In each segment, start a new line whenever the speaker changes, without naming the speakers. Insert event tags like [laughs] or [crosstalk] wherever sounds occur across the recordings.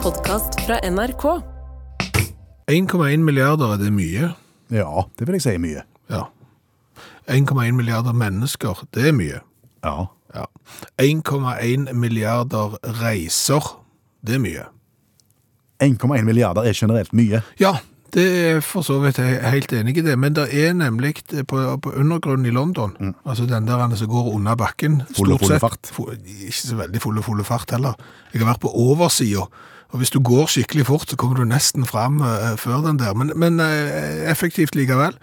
podkast fra NRK.
1,1 milliarder, er det mye?
Ja, det vil jeg si er mye.
Ja. 1,1 milliarder mennesker, det er mye.
Ja.
Ja. 1,1 milliarder reiser, det er mye.
1,1 milliarder er generelt mye.
Ja, det er for så vidt jeg er helt enig i det, men det er nemlig eh, på, på undergrunnen i London, altså den der ene som går under bakken,
Mm. Fulle,
stort
fulle
sett.
fart.
Fu- Ikke så veldig fulle, fulle fart heller. Jeg har vært på oversida, og hvis du går skikkelig fort, så kommer du nesten frem eh, før den der, men, men eh, effektivt likevel.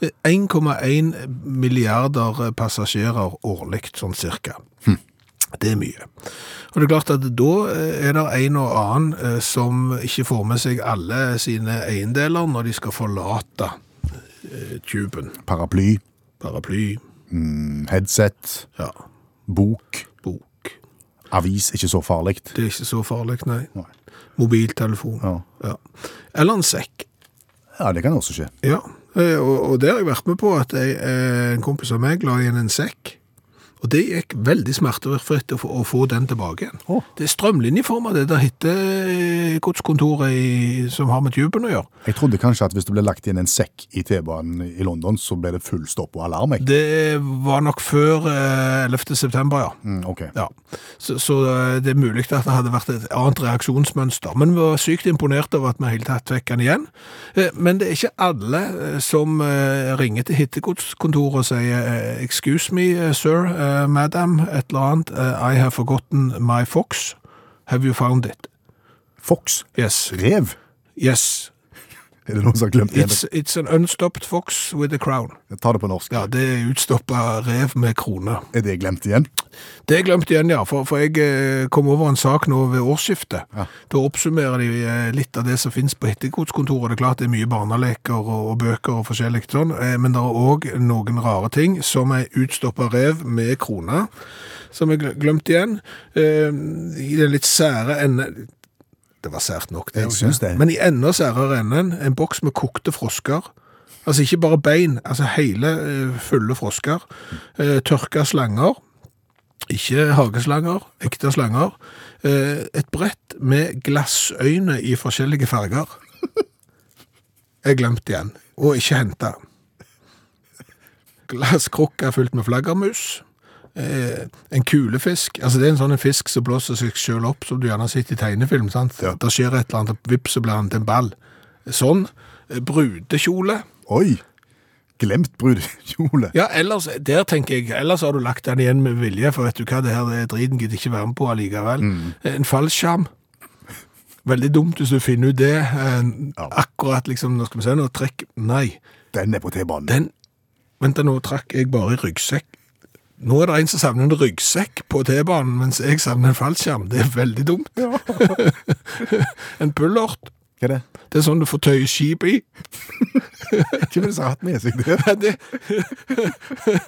Eh, 1,1 milliarder eh, passasjerer årligt, sånn cirka. Det er mye. Og det er klart at da eh, er det en og annen eh, som ikke får med seg alle sine eiendeler når de skal forlate eh, tuben.
Paraply,
Paraply,
mm, headset,
ja,
bok,
bok.
avis, ikke så farlig.
Det er ikke så farlig, nei.
Nei.
Mobiltelefon.
Ja.
Ja. Eller en sekk.
ja, det kan også skje.
Ja, eh, og, og det har jeg vært med på at jeg, eh, en kompis av meg la igjen en sekk. Og det gikk veldig smertefritt å, få- å få den tilbake igjen.
Å.
Det er strømlinjeform av det der heter eh, godskontoret i, som har med tuben å gjøre.
Jeg trodde kanskje at hvis det ble lagt inn en sekk i T-banen i London, så ble det full stopp og alarm. jeg.
Det var nok før eh, 11. september, ja.
Mm, ok.
ja. Så, så eh, det er mulig at det hadde vært et annet reaksjonsmønster. Men vi var sykt imponert over at vi hele tatt fikk den igjen. Eh, Men det er ikke alle eh, som eh, ringer til hittegodskontoret og sier eh, «Excuse me, eh, sir, eh, madam, et eller annet. eh, I have forgotten my fox. Have you found it?»
Fox.
Yes.
Rev.
Yes.
Er det noen som har glemt det?
It's, it's an unstopped fox with a crown.
Ta det på norsk.
Ja, det er utstoppet rev med krone.
Er det glemt igjen?
Det er glemt igjen, ja. For, for jeg eh, kom over en sak nå ved årsskiftet.
Ja.
Da oppsummerer de eh, litt av det som finnes på hittegodskontoret. Det er klart det er mye barneleker og, og bøker og forskjellig sånn, eh, men det er òg noen rare ting, som ei utstoppa rev med krone, som er gl- glemt igjen. Eh, I den litt sære enden Det var sært nok, det.
Jeg
jo ikke.
synes det.
Men i enda særere enden, en boks med kokte frosker. Altså ikke bare bein, altså hele eh, fulle frosker. Eh, Tørka slanger. Ikke hageslanger, ekte slanger. Eh, Et brett med glassøyne i forskjellige farger. Jeg glemte igjen, og ikke henta. Glasskrukka fylt med flaggermus. Eh, en kulefisk. Altså Det er en sånn en fisk som blåser seg sjøl opp, som du gjerne har sett i tegnefilm. sant?
Ja.
Der skjer et eller annet, vips, så blir han til en ball. Sånn. Eh, Brudekjole.
Oi! Glemt [laughs] brudekjole.
Ja, ellers, der tenker jeg, ellers har du lagt den igjen med vilje, for vet du hva, det her det er driten gidder ikke være med på allikevel.
Mm.
Eh, En fallskjerm. Veldig dumt hvis du finner ut det. eh,
Ja.
Akkurat liksom, nå skal vi se, nå trekk, nei.
Den er på T-banen.
Den, vent da, nå trakk jeg bare i ryggsekk. Nå er det en som savner en ryggsekk på T-banen, mens jeg savner en fallskjerm. Det er veldig dumt. en pullert,
Hva er det?
det er sånn du får tøye skip i.
Hvem er det som har hatt med seg det?
Ja, det... [laughs]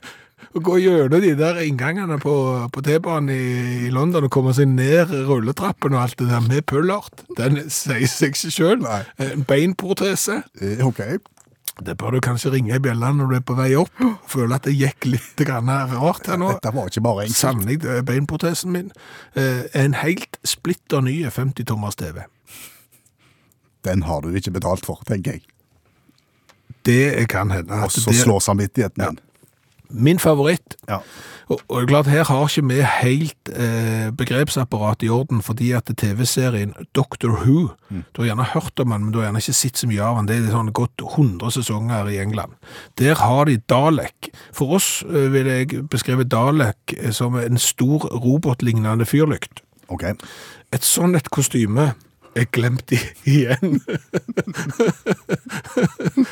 Å gå gjennom de der inngangene på, på T-banen i, i London og komme seg ned rulletrappen og alt det der med pullert, den sier seg ikke sjøl.
Nei.
En beinprotese.
Eh, Ok.
Det bør du kanskje ringe i bjellene når du er på vei opp. Føler at det gikk litt grann rart her nå.
Dette var ikke bare enkelt.
Savner jeg det- beinprotesen min. Eh, En helt splitter ny 50-tommers TV.
Den har du ikke betalt for, tenker jeg.
Det kan hende. at
Og så
det-
slår samvittigheten din.
Min favoritt
Ja.
Og, og det er klart, her har ikke vi helt eh, begrepsapparatet i orden, fordi at TV-serien Doctor Who,
Mm.
du har gjerne hørt om den, men du har gjerne ikke sett så mye av den, det er sånn godt 100 sesonger i England. Der har de Dalek. For oss eh, vil jeg beskrive Dalek eh, som en stor robotlignende fyrlykt.
Ok.
Et sånn et kostyme er glemt i, igjen.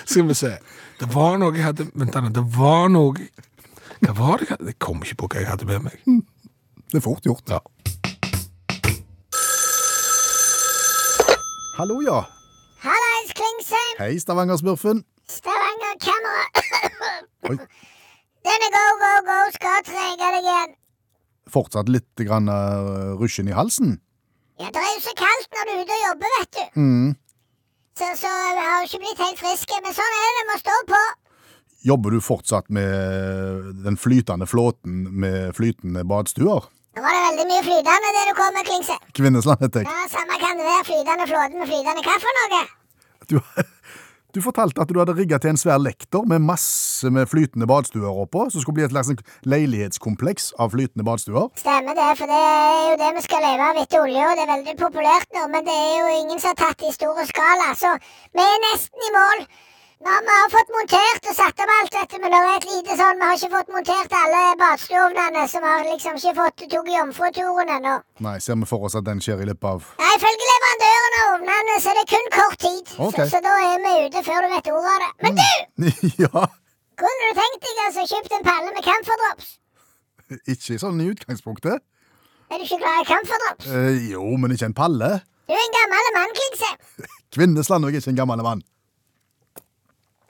Skal vi se. Det var noe jeg hadde Vent, da, det var noe Hva var det jeg hadde? Jeg kom ikke på hva jeg hadde med meg.
Det er fort gjort.
Ja.
Hallo, ja.
Hallais, Klingsheim!
Hei, Stavanger-smurfen.
Stavanger-kamera!
[coughs] Oi.
Denne go, go, go skal trege deg igjen.
Fortsatt litt grann, eh, rushen i halsen.
Ja, Det er jo så kaldt når du er ute og jobber, vet du.
Mm.
Så, så jeg har jo ikke blitt helt frisk. Men sånn er det, må stå på.
Jobber du fortsatt med den flytende flåten med flytende badstuer?
Nå var det veldig mye flytende det du kom med, Klingsheim.
Kvinnesland, heter jeg.
Ja, Samme kan det være, flytende flåte med flytende kaffe og noe?
Du, du fortalte at du hadde rigga til en svær lekter med masse med flytende badstuer oppå, som skulle bli et slags leilighetskompleks av flytende badstuer.
Stemmer det, for det er jo det vi skal leve av etter olje, og det er veldig populært nå, men det er jo ingen som har tatt det i stor skala, så vi er nesten i mål. Nå har vi har fått montert og satt opp alt, vet du, men det er et lite sånn, vi har ikke fått montert alle badstuovnene, så vi har liksom ikke fått tok jomfruturen ennå.
Nei, ser vi for oss at den skjer i løpet av
Ja, ifølge leverandøren av ovnene så er det kun kort tid,
Ok.
så, så da er vi ute før du vet ordet av det. Men du,
[laughs] Ja,
kunne du tenkt deg altså kjøpt en palle med camferdrops?
ikke sånn i utgangspunktet.
Er du ikke glad i camferdrops?
Eh, jo, men ikke en palle.
Du er en gammel mann, Klingse.
Kvinne Slandvik er ikke en gammel mann.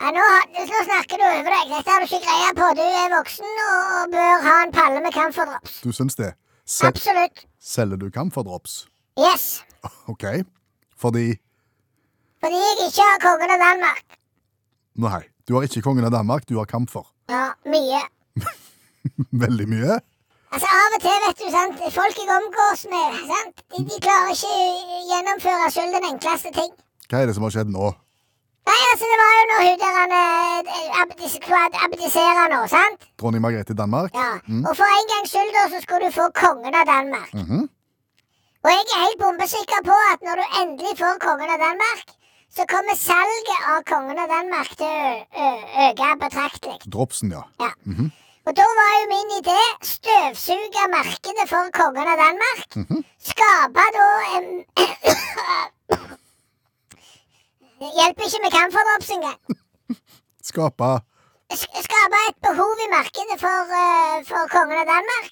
Ja, nå, har- nå snakker du over deg. Dette har du ikke greie på. Du er voksen og og bør ha en palle med camferdrops.
Du syns det? Sel
Absolutt.
selger du camferdrops?
Yes.
OK. Fordi
Fordi jeg ikke har kongen av Danmark.
Nei, du har ikke kongen av Danmark, du har camfer.
Ja, mye.
[laughs] Veldig mye.
Altså Av og til, vet du, sant, folk jeg omgås med, sant, de, de klarer ikke å gjennomføre selv den enkleste ting.
Hva er det som har skjedd nå?
Nei, altså, det var jo når hun der han eh, abdis, kvad- abdiserer nå, sant?
Dronning Margrethe i Danmark?
Ja. Og for en gangs skyld, da, så skulle du få kongen av Danmark.
Mhm.
Og jeg er helt bombesikker på at når du endelig får kongen av Danmark, så kommer salget av kongen av Danmark til å ø- ø- øke betraktelig.
Dropsen, ja.
Ja. Og da var jo min idé støvsuge markedet for kongen av Danmark. Skape da en [coughs] Det hjelper ikke med camferdrops engang.
Skapa
Sk- Skape et behov i markedet for, eh, for kongen av Danmark.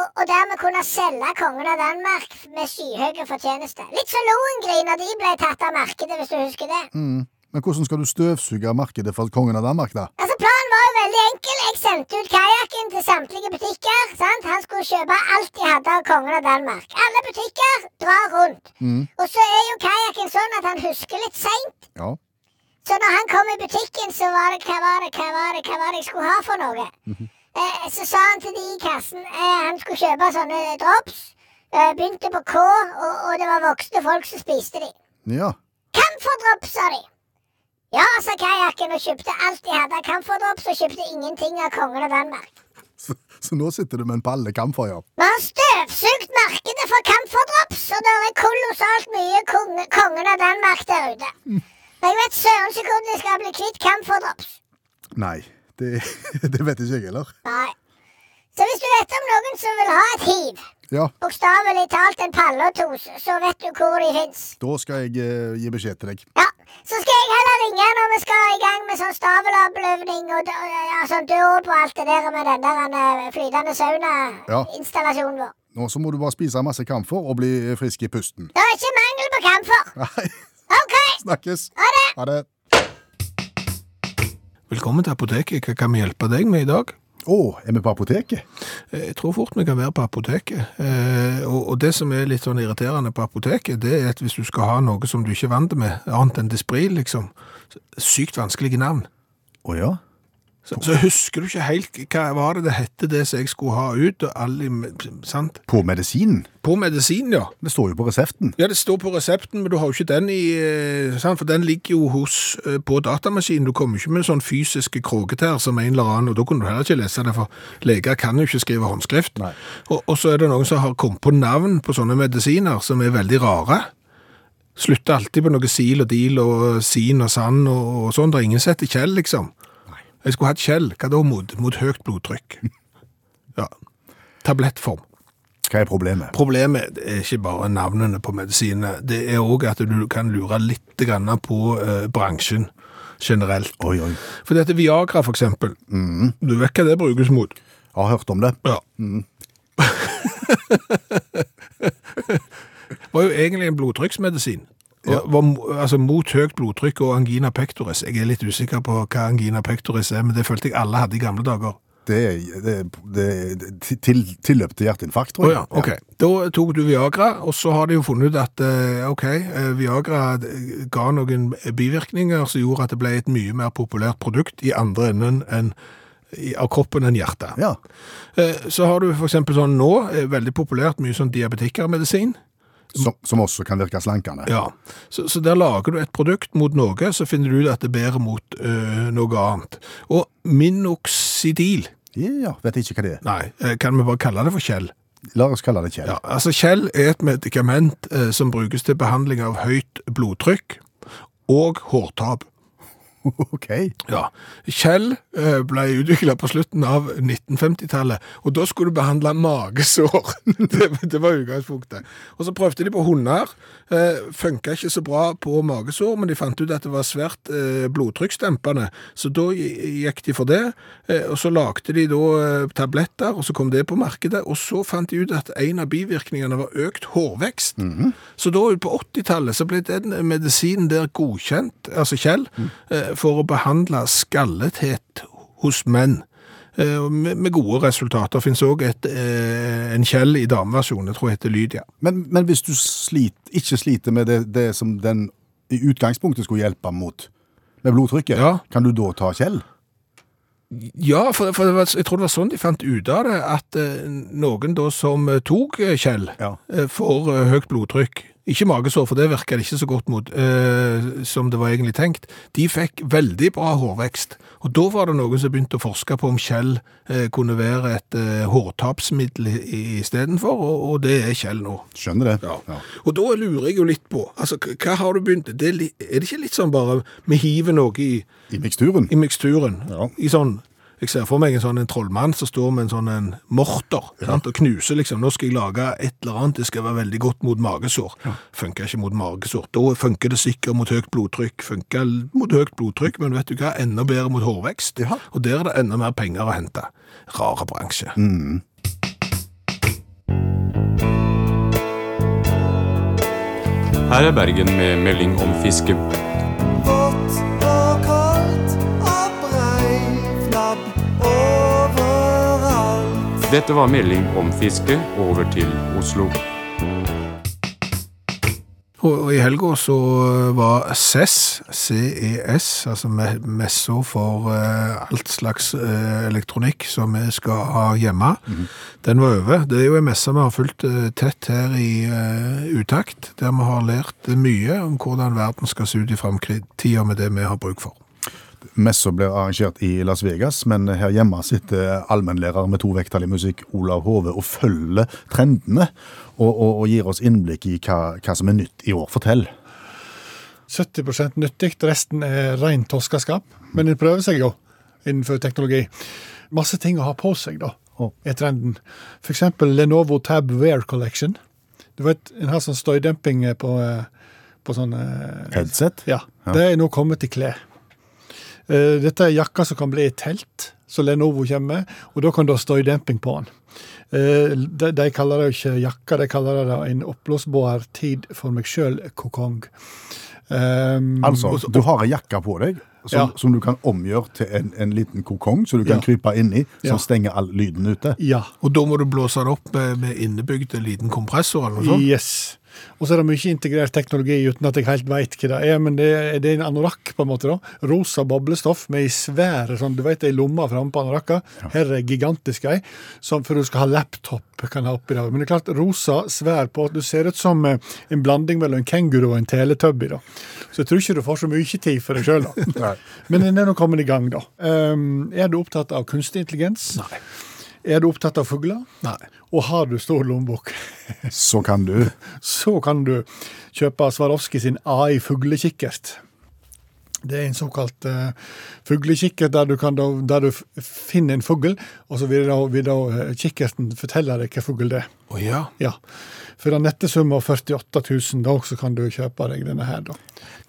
Og, og dermed kunne selge kongen av Danmark med skyhøye fortjenester. Litt som Lohengrin når de ble tatt av markedet, hvis du husker det.
mm. Men hvordan skal du støvsuge markedet for kongen av Danmark, da?
Altså Planen var jo veldig enkel. Jeg sendte ut kajakken til samtlige butikker. sant? Han skulle kjøpe alt de hadde av kongen av Danmark. Alle butikker drar rundt.
Mm.
Og så er jo kajakken sånn at han husker litt seint.
Ja.
Så når han kom i butikken, så var det hva var det, hva var det, hva var det jeg skulle ha for noe? eh, så sa han til de i kassen eh, han skulle kjøpe sånne drops. Eh, begynte på K, og, og det var voksne folk som spiste de.
ja. [laughs]
Camferdrops, sa de. Ja, sa kajakken og kjøpte alt de hadde av camferdrops, og kjøpte ingenting av kongen av Danmark.
Så, så nå sitter du med en palle camfer, ja.
Vi har støvsugd markedet for camferdrops, og det er kolossalt mye konge, kongen av Danmark der ute. Men jeg vet søren ikke hvordan jeg skal bli kvitt camferdrops.
Nei, det, [laughs] det vet ikke jeg heller.
Nei. Så hvis du vet om noen som vil ha et hiv,
Ja,
bokstavelig talt en palle og tos, så vet du hvor de fins.
da skal jeg eh, gi beskjed til deg.
Ja, så skal jeg heller ringe når vi skal i gang med sånn stabelappløvning og dø- ja, sånn dåp og alt det der med den der eh, flytende
Ja.
sauna-installasjonen vår.
Nå så må du bare spise masse camfer og bli frisk i pusten. [laughs]
Det er ikke mangel på kamfer.
Nei,
OK,
snakkes!
ha det!
Ha det.
Velkommen til apoteket. Hva kan vi hjelpe deg med i dag?
Å, er vi på apoteket?
Eh, Jeg tror fort vi kan være på apoteket. Eh, og, og det som er litt sånn irriterende på apoteket, det er at hvis du skal ha noe som du ikke er vant med, annet enn Despril, liksom, så- sykt vanskelige navn,
Å ja?
så, så husker du ikke helt hva var det det hette det som jeg skulle ha ut, og alle, i- sant?
På medisinen?
På medisin, ja.
Det står jo på resepten.
Ja, det står på resepten, men du har jo ikke den i eh, sant? For den ligger jo hos, eh, på datamaskinen. Du kommer ikke med sånn fysiske kråketær som en eller annen, og da kunne du heller ikke lese det, for leger kan jo ikke skrive håndskrift.
Nei.
Og, og så er det noen som har kommet på navn på sånne medisiner som er veldig rare. Slutter alltid på noe sil og deal og eh, sin og sand og, og sånn. Det er ingen som heter Kjell, liksom. Jeg skulle hatt Kjell. Hva da mot, mot høyt blodtrykk? ja. Tablettform.
Hva er problemet?
Problemet er ikke bare navnene på medisinene, det er òg at du kan lure litt grann på eh, bransjen generelt.
Oi, oi.
For dette Viagra, for eksempel, du vet hva det brukes mot.
Jeg har hørt om det.
Ja. [laughs] var jo egentlig en blodtrykksmedisin. Og Var, mo- altså Mot høyt blodtrykk og angina pectoris. Jeg er litt usikker på hva angina pectoris er, men det følte jeg alle hadde i gamle dager.
Det er det- det- til, tilløp til hjerteinfarkt, tror
Å
jeg.
ja, ok. Da tok du Viagra, og så har de jo funnet ut at eh, ok, eh, Viagra eh, ga noen bivirkninger som gjorde at det ble et mye mer populært produkt i andre enden enn i- av kroppen enn hjertet.
Ja.
Eh, Så har du for eksempel sånn nå, eh, veldig populært, mye sånn diabetikermedisin.
Som, som også kan virke slankende.
Ja, så, så der lager du et produkt mot noe, så finner du ut at det er bedre mot øh, noe annet. Og minoxidil,
Ja, vet ikke hva det er.
nei, eh, kan vi bare kalle det for Kjell?
La oss kalle det kjell.
Ja, altså Kjell er et medikament eh, som brukes til behandling av høyt blodtrykk og hårtap.
[laughs] OK.
Ja, Kjell eh, ble utviklet på slutten av 1950-tallet, og da skulle du behandle magesår. [laughs] det, det var utgangspunktet. Og så prøvde de på hunder. Eh, funket ikke så bra på magesår, men de fant ut at det var svært eh, blodtrykksdempende, så da gi- gikk de for det. Eh, og så lagde de da eh, tabletter, og så kom det på markedet, og så fant de ut at en av bivirkningene var økt hårvekst. Så da ut på 80-tallet så ble den medisinen der godkjent, altså Kjell, eh, for å behandle skallethet hos menn. Eh, og Med med gode resultater finnes også et, eh, en Kjell i dameversjonen, jeg tror heter Lydia.
Men, men hvis du slit, ikke sliter med det, det som den i utgangspunktet skulle hjelpe mot, med blodtrykket,
Ja.
kan du da ta kjell?
Ja, for, for det var, jeg tror det var sånn de fant ut av det, at eh, noen da som eh, tok eh, Kjell,
Ja.
eh, får eh, høyt blodtrykk. Ikke magesår, for det virker det ikke så godt mot eh, som det var egentlig tenkt. De fikk veldig bra hårvekst. Og da var det noen som begynte å forske på om Kjell eh, kunne være et eh, hårtapsmiddel i- istedenfor, og, og det er Kjell nå.
Skjønner det?
Ja. Og da lurer jeg jo litt på, altså k- hva har du begynt Det er, li- er det ikke litt sånn bare vi hiver noe i
I miksturen?
i miksturen.
Ja.
I sånn, jeg ser for meg en sånn en trollmann som står med en sånn en morter sant? og knuser liksom. Nå skal jeg lage et eller annet, det skal være veldig godt mot magesår. Funker ikke mot magesår. Da funker det sikkert mot høyt blodtrykk. Funker l- mot høyt blodtrykk, men vet du hva? Enda bedre mot hårvekst.
Ja.
Og der er det enda mer penger å hente. Rare bransje.
Her er Bergen med melding om fiske.
Vått og kaldt og breiflabb overalt.
Dette var melding om fiske over til Oslo.
Og og i helga så eh, var E CES, CES, altså me- messa for eh, alt slags eh, elektronikk som vi skal ha hjemme, den var over. Det er jo en messe vi har fulgt eh, tett her i eh, utakt, der vi har lært mye om hvordan verden skal se ut i fremtiden med det vi har bruk for.
Messa blir arrangert i Las Vegas, men her hjemme sitter allmennlærer med to vekttall i musikk, Olav Hove, og følger trendene. Og, og, og gir oss innblikk i hva, hva som er nytt i år. Fortell.
70 nyttig, resten er ren toskeskap. Men en prøver seg jo innenfor teknologi. Masse ting å ha på seg, da,
Å.
er trenden. F.eks. Lenovo Tab Wear Collection. Du vet, En har sånn støydemping på, eh, på sånn eh,
Headset?
Ja. Det er nå kommet i klær. Eh, Dette er jakka som kan bli et telt, som Lenovo kommer med, og da kan du ha støydemping på den. Eh, De, de kaller det jo ikke jakka, de kaller det en oppblåsbar tid for meg Eh, sjøl-kokong.
Altså, du har ei jakke på deg som,
Ja.
som du kan omgjøre til en, en liten kokong, så du kan
Ja.
krype inni, som
Ja.
stenger all lyden ute.
Ja.
Og da må du blåse det opp med, med innebygd en liten kompressor eller noe sånt.
Yes. Og så er det mye integrert teknologi uten at jeg helt veit hva det er, men det er, det er en anorakk, på en måte. da. Rosa boblestoff med ei svær sånn, du vet, ei lomme framme på anorakka. Her er gigantisk ei, som for du skal ha laptop kan ha oppi der. Men det er klart, rosa, svær på at du ser ut som eh, en blanding mellom en kenguru og en teletubby, da. Så jeg tror ikke du får så mye tid for deg sjøl,
[laughs]
da. [laughs] men den er nå kommet i gang, da. Um, er du opptatt av kunstig intelligens?
Nei.
Er du opptatt av fugler?
Nei.
Og har du stor lommebok?
Så kan du
så kan du kjøpe Swarovski sin AI fuglekikkert. Det er en såkalt eh, fuglekikkert der du, kan da, der du f- finner en fugl, og så vil da, vil da eh, kikkerten fortelle deg hvilken fugl det er.
Å ja.
Ja. For den nette sum av 48 000, da så kan du kjøpe deg denne her, da.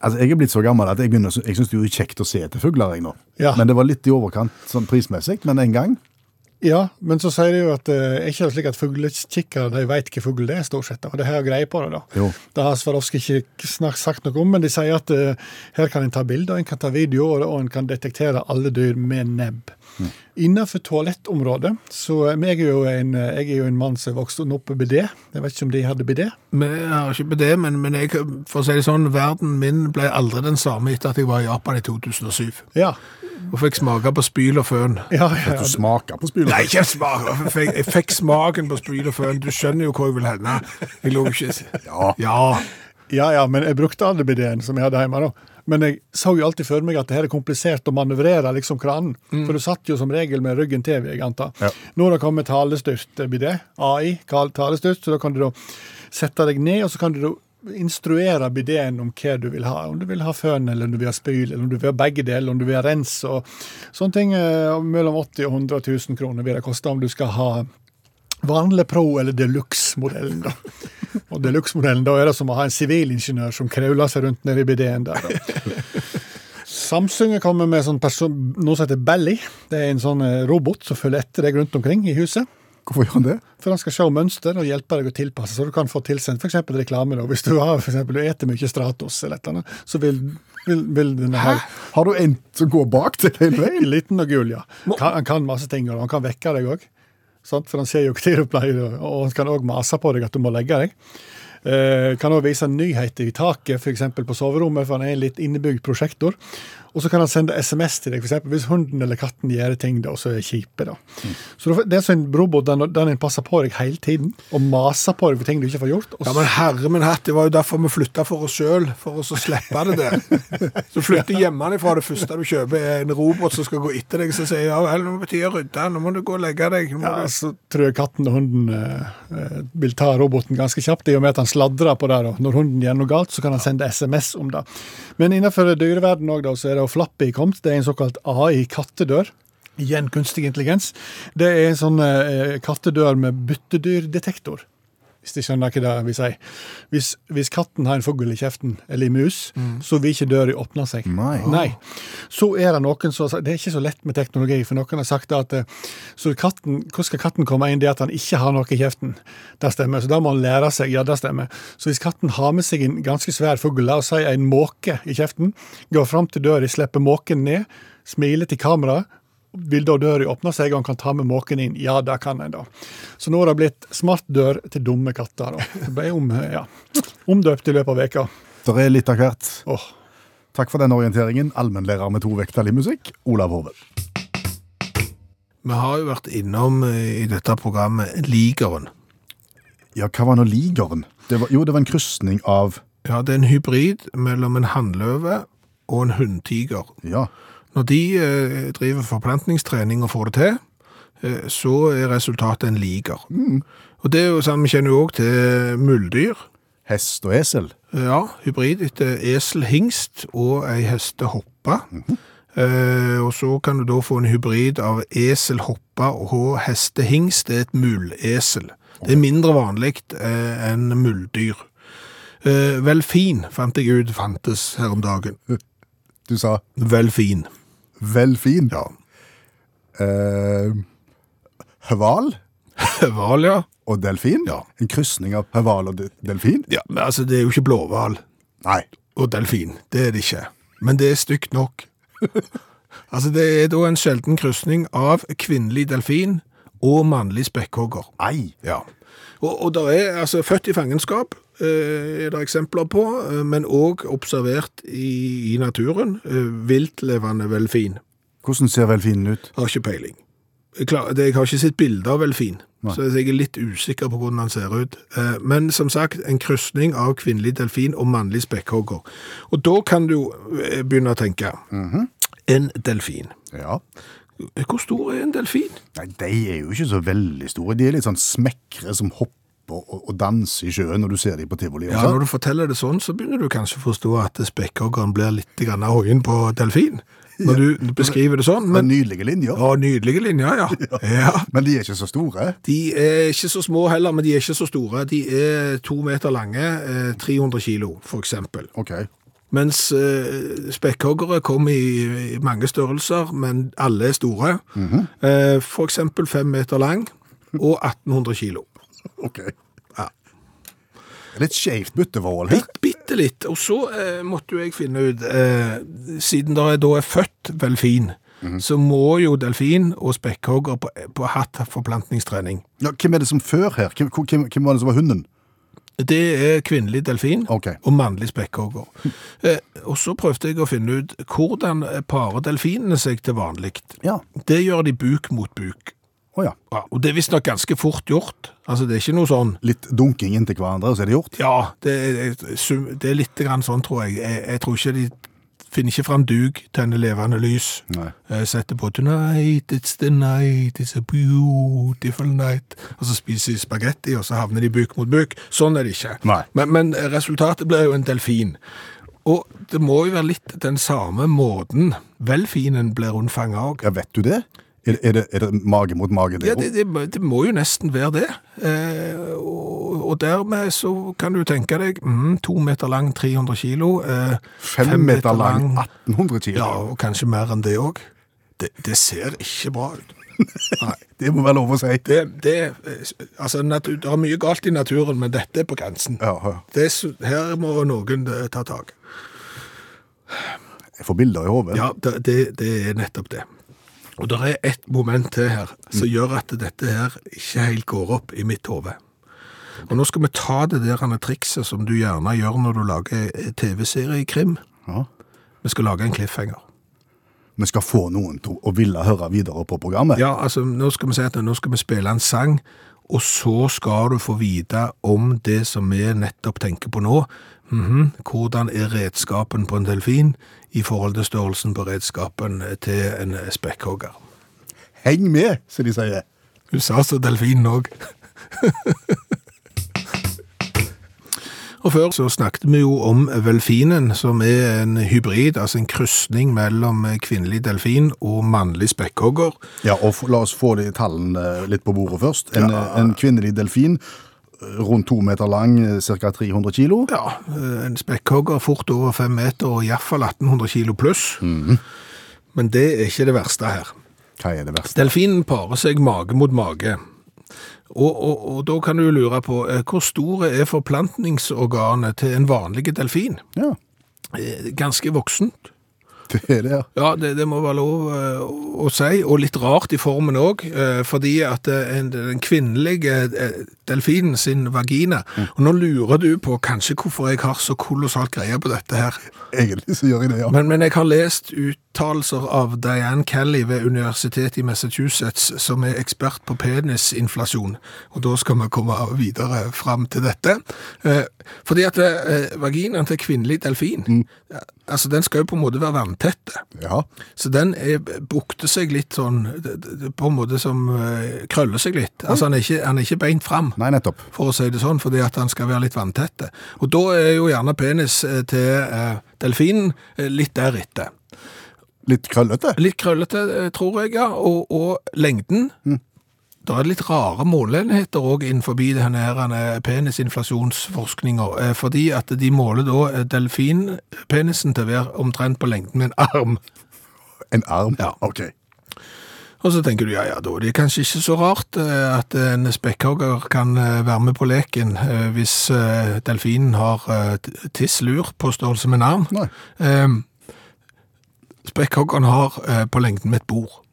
Altså, Jeg er blitt så gammel at jeg, begynner, å sy- jeg syns det er kjekt å se etter fugler. jeg nå.
Ja.
Men det var litt i overkant sånn prismessig, men en gang
Ja, men så sier de jo at eh, er ikke det slik at fuglekikkere de veit hvilken fugl det er, stort sett. da? Og det her er greie på det, da.
Jo.
Det har Swarovski ikke snakk sagt noe om, men de sier at eh, her kan en ta bilder, en kan ta videoer, og en kan detektere alle dyr med nebb. Innenfor toalettområdet så eh, men jeg er jo en, jeg er jo en mann som er vokst opp med bidé. Jeg vet ikke om de hadde bidé.
Vi har ikke på det, men, men jeg, for å si det sånn, verden min ble aldri den samme etter at jeg var i Japan i 2007.
Ja.
Og fikk smake på spyl og føn.
ja, ja,
Du smaker på spylet.
Nei, ikke smak. Jeg fikk, jeg fikk smaken på spyl og føn. Du skjønner jo hvor jeg vil hende. Jeg lå ikke
Ja.
Ja.
ja, ja, men jeg brukte aldri bidéen som jeg hadde hjemme. da. Men jeg så jo alltid for meg at det her er komplisert å manøvrere liksom kranen. For du satt jo som regel med ryggen til, vil jeg anta.
Ja.
Nå har det kommet talestyrt bidé, AI, kall talestyrt, så da kan du da sette deg ned, og så kan du da instruere bidéen om hva du vil ha. Om du vil ha føn, eller om du vil ha spyl, eller om du vil ha begge deler, om du vil ha rens og sånne ting. eh, Mellom 80 og 100 000 kroner vil det koste om du skal ha vanlig pro- eller deluxe-modellen. da. Og deluxe-modellen, da er det som å ha en sivilingeniør som krauler seg rundt nede i bidéen der. da.
[laughs]
Samsung kommer med sånn person, noe som heter Belly. Det er en sånn eh, robot som følger etter deg rundt omkring i huset.
Hvorfor gjør han det?
For han skal se mønster og hjelpe deg å tilpasse, så du kan få tilsendt f.eks. reklame. da. Hvis du har for eksempel, du eter mye Stratos, eller et eller annet, så vil, vil, vil denne her
Har du en som går bak til
[laughs]
hele veien?
Liten og gul, ja. Kan, han kan masse ting, og han kan vekke deg òg. For han ser jo hva du pleier, å- og han kan òg mase på deg at du må legge deg. Eh, kan òg vise nyheter i taket, f.eks. på soverommet, for han er en litt innebygd prosjektor. Og så kan han sende SMS til deg, f.eks. hvis hunden eller katten gjør ting da, så er det kjipe. da.
Mm.
Så det er sånn en robot den, den en passer på deg hele tiden, og maser på deg for ting du ikke får gjort. Og
Ja, men herre min hatt, det var jo derfor vi flytta for oss sjøl, for oss å slippe det der. Så flytter hjemmefra, det første du kjøper er en robot som skal gå etter deg, som sier ja vel, nå må tida rydde, nå må du gå og legge deg. Nå må
Ja,
du
så tror jeg katten og hunden eh, eh, vil ta roboten ganske kjapt, i og med at han sladrer på det. da. Når hunden gjør noe galt, så kan han sende SMS om det. Men innenfor dyreverdenen også, da, så er det jo Flappy kommet. Det er en såkalt AI-kattedør. Igjen kunstig intelligens. Det er en sånn eh, kattedør med byttedyrdetektor. Hvis de skjønner hva det vil si. Hvis, hvis katten har en fugl i kjeften, eller en mus,
Mm.
så vil ikke døra åpne seg.
Nei.
Nei. Så er det noen som har sagt, Det er ikke så lett med teknologi, for noen har sagt at eh, så katten, hvordan skal katten komme inn det at han ikke har noe i kjeften? Det stemmer. Så da må han lære seg. Ja, det stemmer. Så hvis katten har med seg en ganske svær fugl, la oss si en måke i kjeften, går fram til døra, slipper måken ned, smiler til kameraet, vil da døra åpne seg, og han kan ta med måken inn? Ja, det kan en, da. Så nå har det blitt smart dør til dumme katter. Da. Det ble om, ja, omdøpt i løpet av veka.
Det er litt av hvert.
Åh.
Takk for den orienteringen, allmennlærer med to vekttall i musikk, Olav Hove.
Vi har jo vært innom eh, i dette programmet Ligeren.
Ja, hva var nå ligeren? Det var, jo, det var en krysning av
Ja, det er en hybrid mellom en hannløve og en hundtiger.
Ja,
Når de eh, driver forplantningstrening og får det til, eh, så er resultatet en liger. Og det er jo sånn, vi kjenner jo også til muldyr. Eh,
hest og esel.
Ja, hybrid etter eselhingst og ei hestehoppa. eh, og så kan du da få en hybrid av eselhoppa og hestehingst. Det er et mulesel. Det er mindre vanlig eh, enn muldyr. Eh, velfin fant jeg ut fantes her om dagen.
Du sa
Velfin.
vel fin.
Ja.
Eh, Høval
Hval, ja.
og delfin?
Ja.
En krysning av høval og de- delfin?
ja. Men altså, det er jo ikke blåhval
Nei.
og delfin. Det er det ikke. Men det er stygt nok. [laughs] altså, det er da en sjelden krysning av kvinnelig delfin og mannlig spekkhogger.
Ei.
Ja. Og, og der er altså født i fangenskap, eh, er det eksempler på, eh, men òg observert i, i naturen. Eh, viltlevende velfin.
Hvordan ser velfinen ut?
Har ikke peiling. Jeg, klar, det, jeg har ikke sett bilde av velfin, så jeg er litt usikker på hvordan han ser ut. Eh, men som sagt, en krysning av kvinnelig delfin og mannlig spekkhogger. Og da kan du eh, begynne å tenke. Mhm. En delfin.
Ja.
Hvor stor er en delfin?
Nei, de er jo ikke så veldig store. De er litt sånn smekre som hopper og, og danser i sjøen når du ser dem på tivoli.
Ja,
også.
Altså, Når du forteller det sånn, så begynner du kanskje å forstå at spekkhoggeren blir litt grann hoien på delfin. Når du beskriver det sånn.
Det er
Men,
Nydelige linjer.
ja, nydelige linjer, [laughs] ja. ja.
Men de er ikke så store.
De er ikke så små heller, men de er ikke så store. De er to meter lange, eh, 300 kilo, for eksempel.
Ok.
Mens eh, spekkhoggere kommer i, i mange størrelser, men alle er store. eh, for eksempel fem meter lang og 1800 kilo.
ok.
Ja.
Litt skjevt bytteforhold her.
Bitt, bitte litt. Og så eh, måtte jo jeg finne ut, eh, siden det da er født velfin, så må jo delfin og spekkhogger på, på hattforplantningstrening.
Ja, hvem er det som før her? Hvem, hvem, hvem var det som var hunden?
Det er kvinnelig delfin
Ok.
og mannlig spekkhogger.
[laughs]
Eh, og så prøvde jeg å finne ut hvordan parer delfinene seg til vanlig.
Ja.
Det gjør de buk mot buk.
Å ja.
Ja, og det er visstnok ganske fort gjort. Altså, det er ikke noe sånn
Litt dunking inntil hverandre, og så er det gjort.
Ja, det er, sum- det er litt grann sånn, tror jeg. jeg. Jeg tror ikke de finner ikke fram dug, tenner levende lys.
Nei.
Eh, Setter på 'Tonight, it's the night, it's a beautiful night'. Og så spiser de spagetti, og så havner de buk mot buk. Sånn er det ikke.
Nei.
Men, men resultatet blir jo en delfin. Og det må jo være litt den samme måten velfinen blir unnfanget òg.
Ja, vet du det? Er, er, det, er det mage mot mage?
Ja,
også?
det, det, må- det må jo nesten være det. Eh, og, og dermed så kan du tenke deg mm, to meter lang, 300 kilo. Eh,
Fem meter lang, 1800 kilo.
Ja, og kanskje mer enn det òg. Det, det ser ikke bra ut.
[laughs] Det må være lov å si.
Det, det, eh, altså, natu- det er mye galt i naturen, men dette er på grensen.
Ja, ja.
Det, er så- her må noen eh, ta tak.
Jeg får bilder i hodet.
Ja, det, det, det er nettopp det. Og det er ett moment til her som gjør at dette her ikke helt går opp i mitt hode. Og nå skal vi ta det der andre trikset som du gjerne gjør når du lager eh, TV-serie i krim.
Ja.
Vi skal lage en cliffhanger.
Vi skal få noen til å ville høre videre på programmet.
Ja, altså, nå skal vi si at nå skal vi spille en sang, og så skal du få vite om det som vi nettopp tenker på nå. Mhm. Hvordan er redskapen på en delfin i forhold til størrelsen på redskapen til en spekkhogger?
Heng med, som de sier.
Hun sa så delfinen òg. Og før så snakket vi jo om velfinen, som er en hybrid, altså en krysning mellom kvinnelig delfin og mannlig spekkhogger.
Ja, og f- La oss få de tallene eh, litt på bordet først. En, eh, en kvinnelig delfin, eh, rundt to meter lang, ca. 300 kilo.
Ja, en spekkhogger fort over fem meter og iallfall 1800 kilo pluss. Men det er ikke det verste her.
Hva er det verste?
Delfinen parer seg mage mot mage. Og, og, og da kan du lure på eh, hvor store er forplantningsorganet til en vanlig delfin?
Ja,
Eh, Ganske voksent.
det er det. ja.
Ja, det, det må være lov eh, å- å si, og litt rart i formen òg. Fordi at eh, en, den kvinnelige eh, delfinen sin vagina Og nå lurer du på kanskje hvorfor jeg har så kolossalt greie på dette her.
Egentlig så gjør jeg det, ja.
Men, men jeg har lest uttalelser av Diane Kelly ved Universitetet i Massachusetts, som er ekspert på penisinflasjon. Og da skal vi komme videre fram til dette. Eh, fordi at eh, vaginaen til kvinnelig delfin, eh, altså den skal jo på en måte være vanntette.
ja.
Så den er, bukter seg litt sånn, det- det- det- på en måte som eh, krøller seg litt. Altså han er ikke, han er ikke beint fram
Nei, nettopp.
for å si det sånn, fordi at han skal være litt vanntette. Og da er jo gjerne penis eh, til eh, delfinen eh, litt deretter.
Litt krøllete.
Litt krøllete, eh, tror jeg, ja, og, og lengden. Det er litt rare måleenheter òg innenfor denne her, eh, penisinflasjonsforskninga, eh, fordi at de måler da eh, delfinpenisen til å være omtrent på lengden med en arm.
En arm.
Ja.
Ok.
Og så tenker du, ja, ja, da er det kanskje ikke så rart eh, at en spekkhogger kan eh, være med på leken eh, hvis eh, delfinen har eh, t- tisslur på størrelse med en arm.
Nei.
Eh, Spekkhoggeren har eh, på lengden med et bord.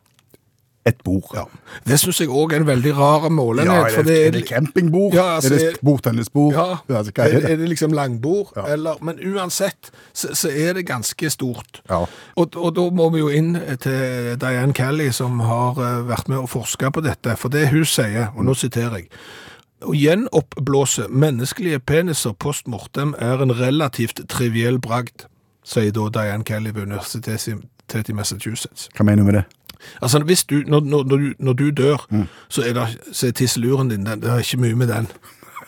Et bord. Ja.
Det synes jeg også er en veldig rar målenhet.
er
for
det,
det
er det campingbord?
Ja, altså,
er
er-
det bordtennisbord?
Ja,
altså, hva er det?
er det liksom langbord?
Ja.
Eller, men uansett, så, så er det ganske stort.
Ja.
Og, og da må vi jo inn til Diane Kelly, som har eh, vært med og forska på dette. For det hun sier, og nå siterer jeg å gjenoppblåse menneskelige peniser post mortem er en relativt triviell bragd, sier da Diane Kelly ved Universitetet i Massachusetts.
Hva mener du med det?
Altså, hvis du, når, når, når du, når du dør, så er, det, så er tisseluren din den, Det er ikke mye med den.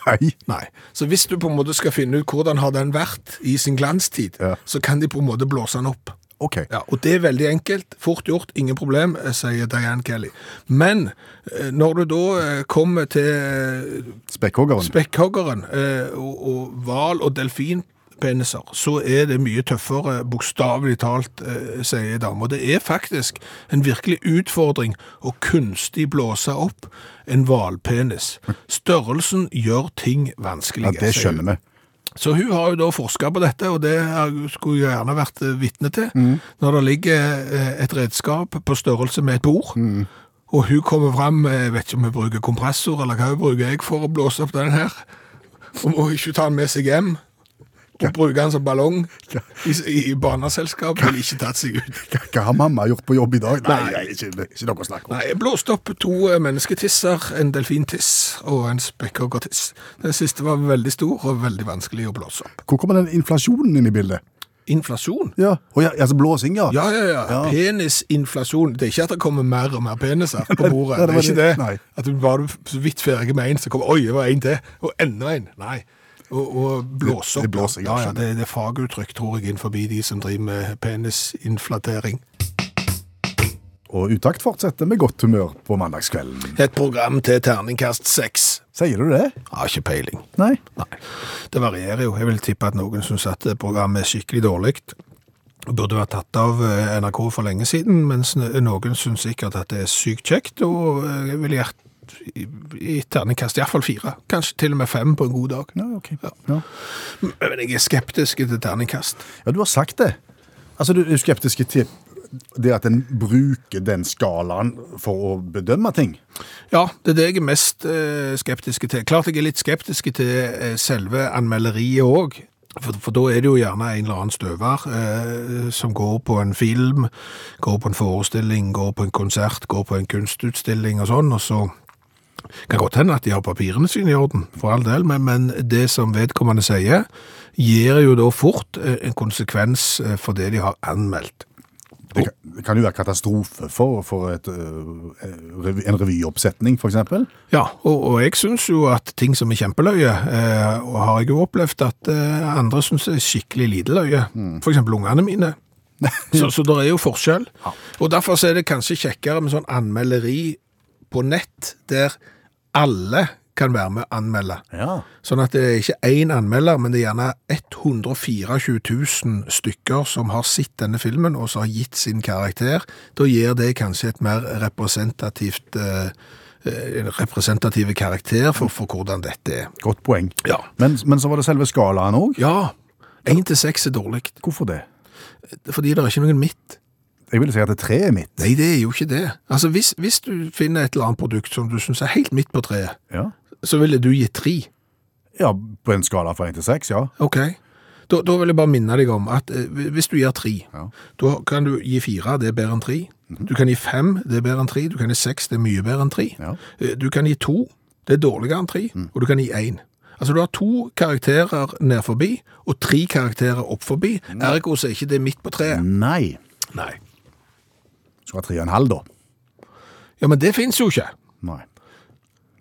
Nei.
Nei. Så hvis du på en måte skal finne ut hvordan har den vært i sin glanstid,
Ja.
så kan de på en måte blåse den opp.
Ok.
Ja, og det er veldig enkelt, fort gjort, ingen problem, eh, sier Diane Kelly. Men eh, når du da eh, kommer til eh,
Spekkhoggeren.
spekkhoggeren eh, og, og val- og delfinpeniser, så er det mye tøffere, bokstavelig talt, eh, sier damer. Det er faktisk en virkelig utfordring å kunstig blåse opp en hvalpenis. Størrelsen gjør ting
ja,
vanskelig.
det skjønner vi.
Så hun har jo da forska på dette, og det har- skulle jeg gjerne vært eh, vitne til. Når det ligger eh, et redskap på størrelse med et bord, og hun kommer fram med Jeg vet ikke om hun bruker kompressor, eller hva hun bruker jeg for å blåse opp den her. Og må ikke ta den med seg hjem. Og bruke den som ballong i, i barneselskap. Ville ikke tatt seg ut.
Hva har mamma gjort på jobb i dag? Nei, nei ikke, ikke noe å snakke om.
Nei, jeg blåste opp to eh, mennesketisser, en delfintiss og en spekkhoggertiss. Den siste var veldig stor og veldig vanskelig å blåse opp.
Hvor kommer den inflasjonen inn i bildet?
Inflasjon?
Ja, Å, ja altså blåsing, ja.
Ja, ja, ja.
Ja.
Penisinflasjon. Det er ikke at det kommer mer og mer peniser
[laughs]
på bordet. det,
nei, det var
er ikke det.
det. Nei.
At du var du så vidt ferdig med én, så kommer Oi, det var en til. Og enda en. Nei. Og, og blåse
Det-
opp.
det blåser, ja,
ja, ja,
skjønner.
det, det er faguttrykk, tror jeg, innenfor de som driver med penisinflatering.
Og Utakt fortsetter med godt humør på mandagskvelden.
Et program til terningkast seks.
Sier du det?
Har ikke peiling.
Nei.
Det varierer jo. Jeg vil tippe at noen syns at programmet er skikkelig dårlig. Burde vært tatt av eh, NRK for lenge siden, mens n- noen syns sikkert at det er sykt kjekt, og eh, jeg vil gjerne i terningkast iallfall fire. Kanskje til og med fem på en god dag.
Ja, ok.
Ja.
Ja.
Men jeg er skeptisk til terningkast.
Ja, du har sagt det. Altså, du er skeptiske til det at en bruker den skalaen for å bedømme ting.
Ja, det er det jeg er mest eh, skeptisk til. Klart jeg er litt skeptisk til eh, selve anmelderiet òg. For, for da er det jo gjerne en eller annen støver eh, som går på en film, går på en forestilling, går på en konsert, går på en kunstutstilling og sånn, og så kan godt hende at de har papirene sine i orden, for all del, men, men det som vedkommende sier, gir jo da fort eh, en konsekvens eh, for det de har anmeldt.
Det kan, det kan jo være katastrofe for, for et, øh, revy, en revyoppsetning, for eksempel.
Ja, og, og jeg syns jo at ting som er kjempeløye, eh, og har jeg jo opplevd at eh, andre syns er skikkelig lite løye. For eksempel ungene mine. så, så det er jo forskjell. Og derfor så er det kanskje kjekkere med sånn anmelderi på nett, der alle kan være med å anmelde.
Ja.
Sånn at det er ikke én anmelder, men det er gjerne 124 000 stykker som har sett denne filmen, og som har gitt sin karakter. Da gir det kanskje et mer representativt eh, eh, en representativ karakter for, for hvordan dette er.
Godt poeng.
Ja.
Men, men så var det selve skalaen òg.
Ja, én til seks er dårlig,
Hvorfor det?
fordi det er ikke noen midt.
Jeg ville si at det tre er mitt.
Nei, det er jo ikke det. Altså, Hvis, hvis du finner et eller annet produkt som du syns er helt midt på treet,
Ja.
så ville du gitt tre.
ja, på en skala fra én til seks, ja.
Ok. Da, da vil jeg bare minne deg om at eh, hvis du gir tre,
Ja. Mhm.
da kan du gi fire, det er bedre enn tre. Du kan gi fem, det er bedre enn tre. Du kan gi seks, det er mye bedre enn tre.
Ja. Mhm.
Eh, Du kan gi to, det er dårligere enn tre. Og du kan gi én. Altså du har to karakterer ned forbi, og tre karakterer opp forbi. Ergo så er ikke det midt på
Mm.
treet.
Nei.
Nei.
Skal ha tre og en halv, da.
Ja, men det finnes jo ikke.
Nei.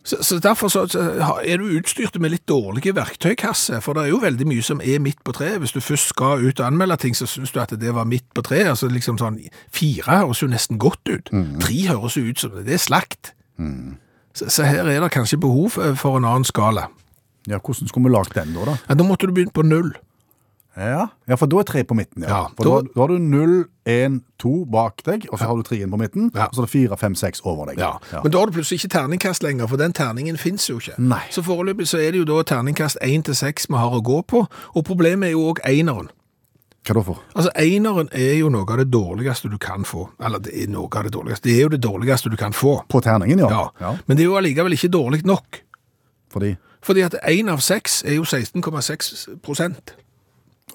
Så, så derfor så, så har- er du utstyrt med litt dårlige verktøykasse, for det er jo veldig mye som er midt på treet. Hvis du først skal ut og anmelde ting, så synes du at det var midt på treet. Altså liksom sånn, fire høres jo nesten godt ut. Tre høres jo ut som det er slakt. Så, så her er det kanskje behov eh, for en annen skala.
Ja, Hvordan skulle vi lagd den, da? da?
Ja, da måtte du begynne på null.
Ja. ja, for da er tre på midten. Ja.
Ja,
for
da-
da, da har du null, én, to bak deg, og så har du treen på midten.
Ja.
Og så er det fire, fem, seks over deg.
Ja. Men da har du plutselig ikke terningkast lenger, for den terningen finnes jo ikke.
Nei.
Så foreløpig så er det jo da terningkast 1 til 6 vi har å gå på, og problemet er jo også eneren.
Hva da for?
Altså, eneren er jo noe av det dårligste du kan få. Eller, det er noe av det dårligste. Det er jo det dårligste du kan få.
På terningen, ja.
Ja. Men det er jo allikevel ikke dårlig nok.
Fordi,
Fordi at én av seks er jo 16,6 prosent.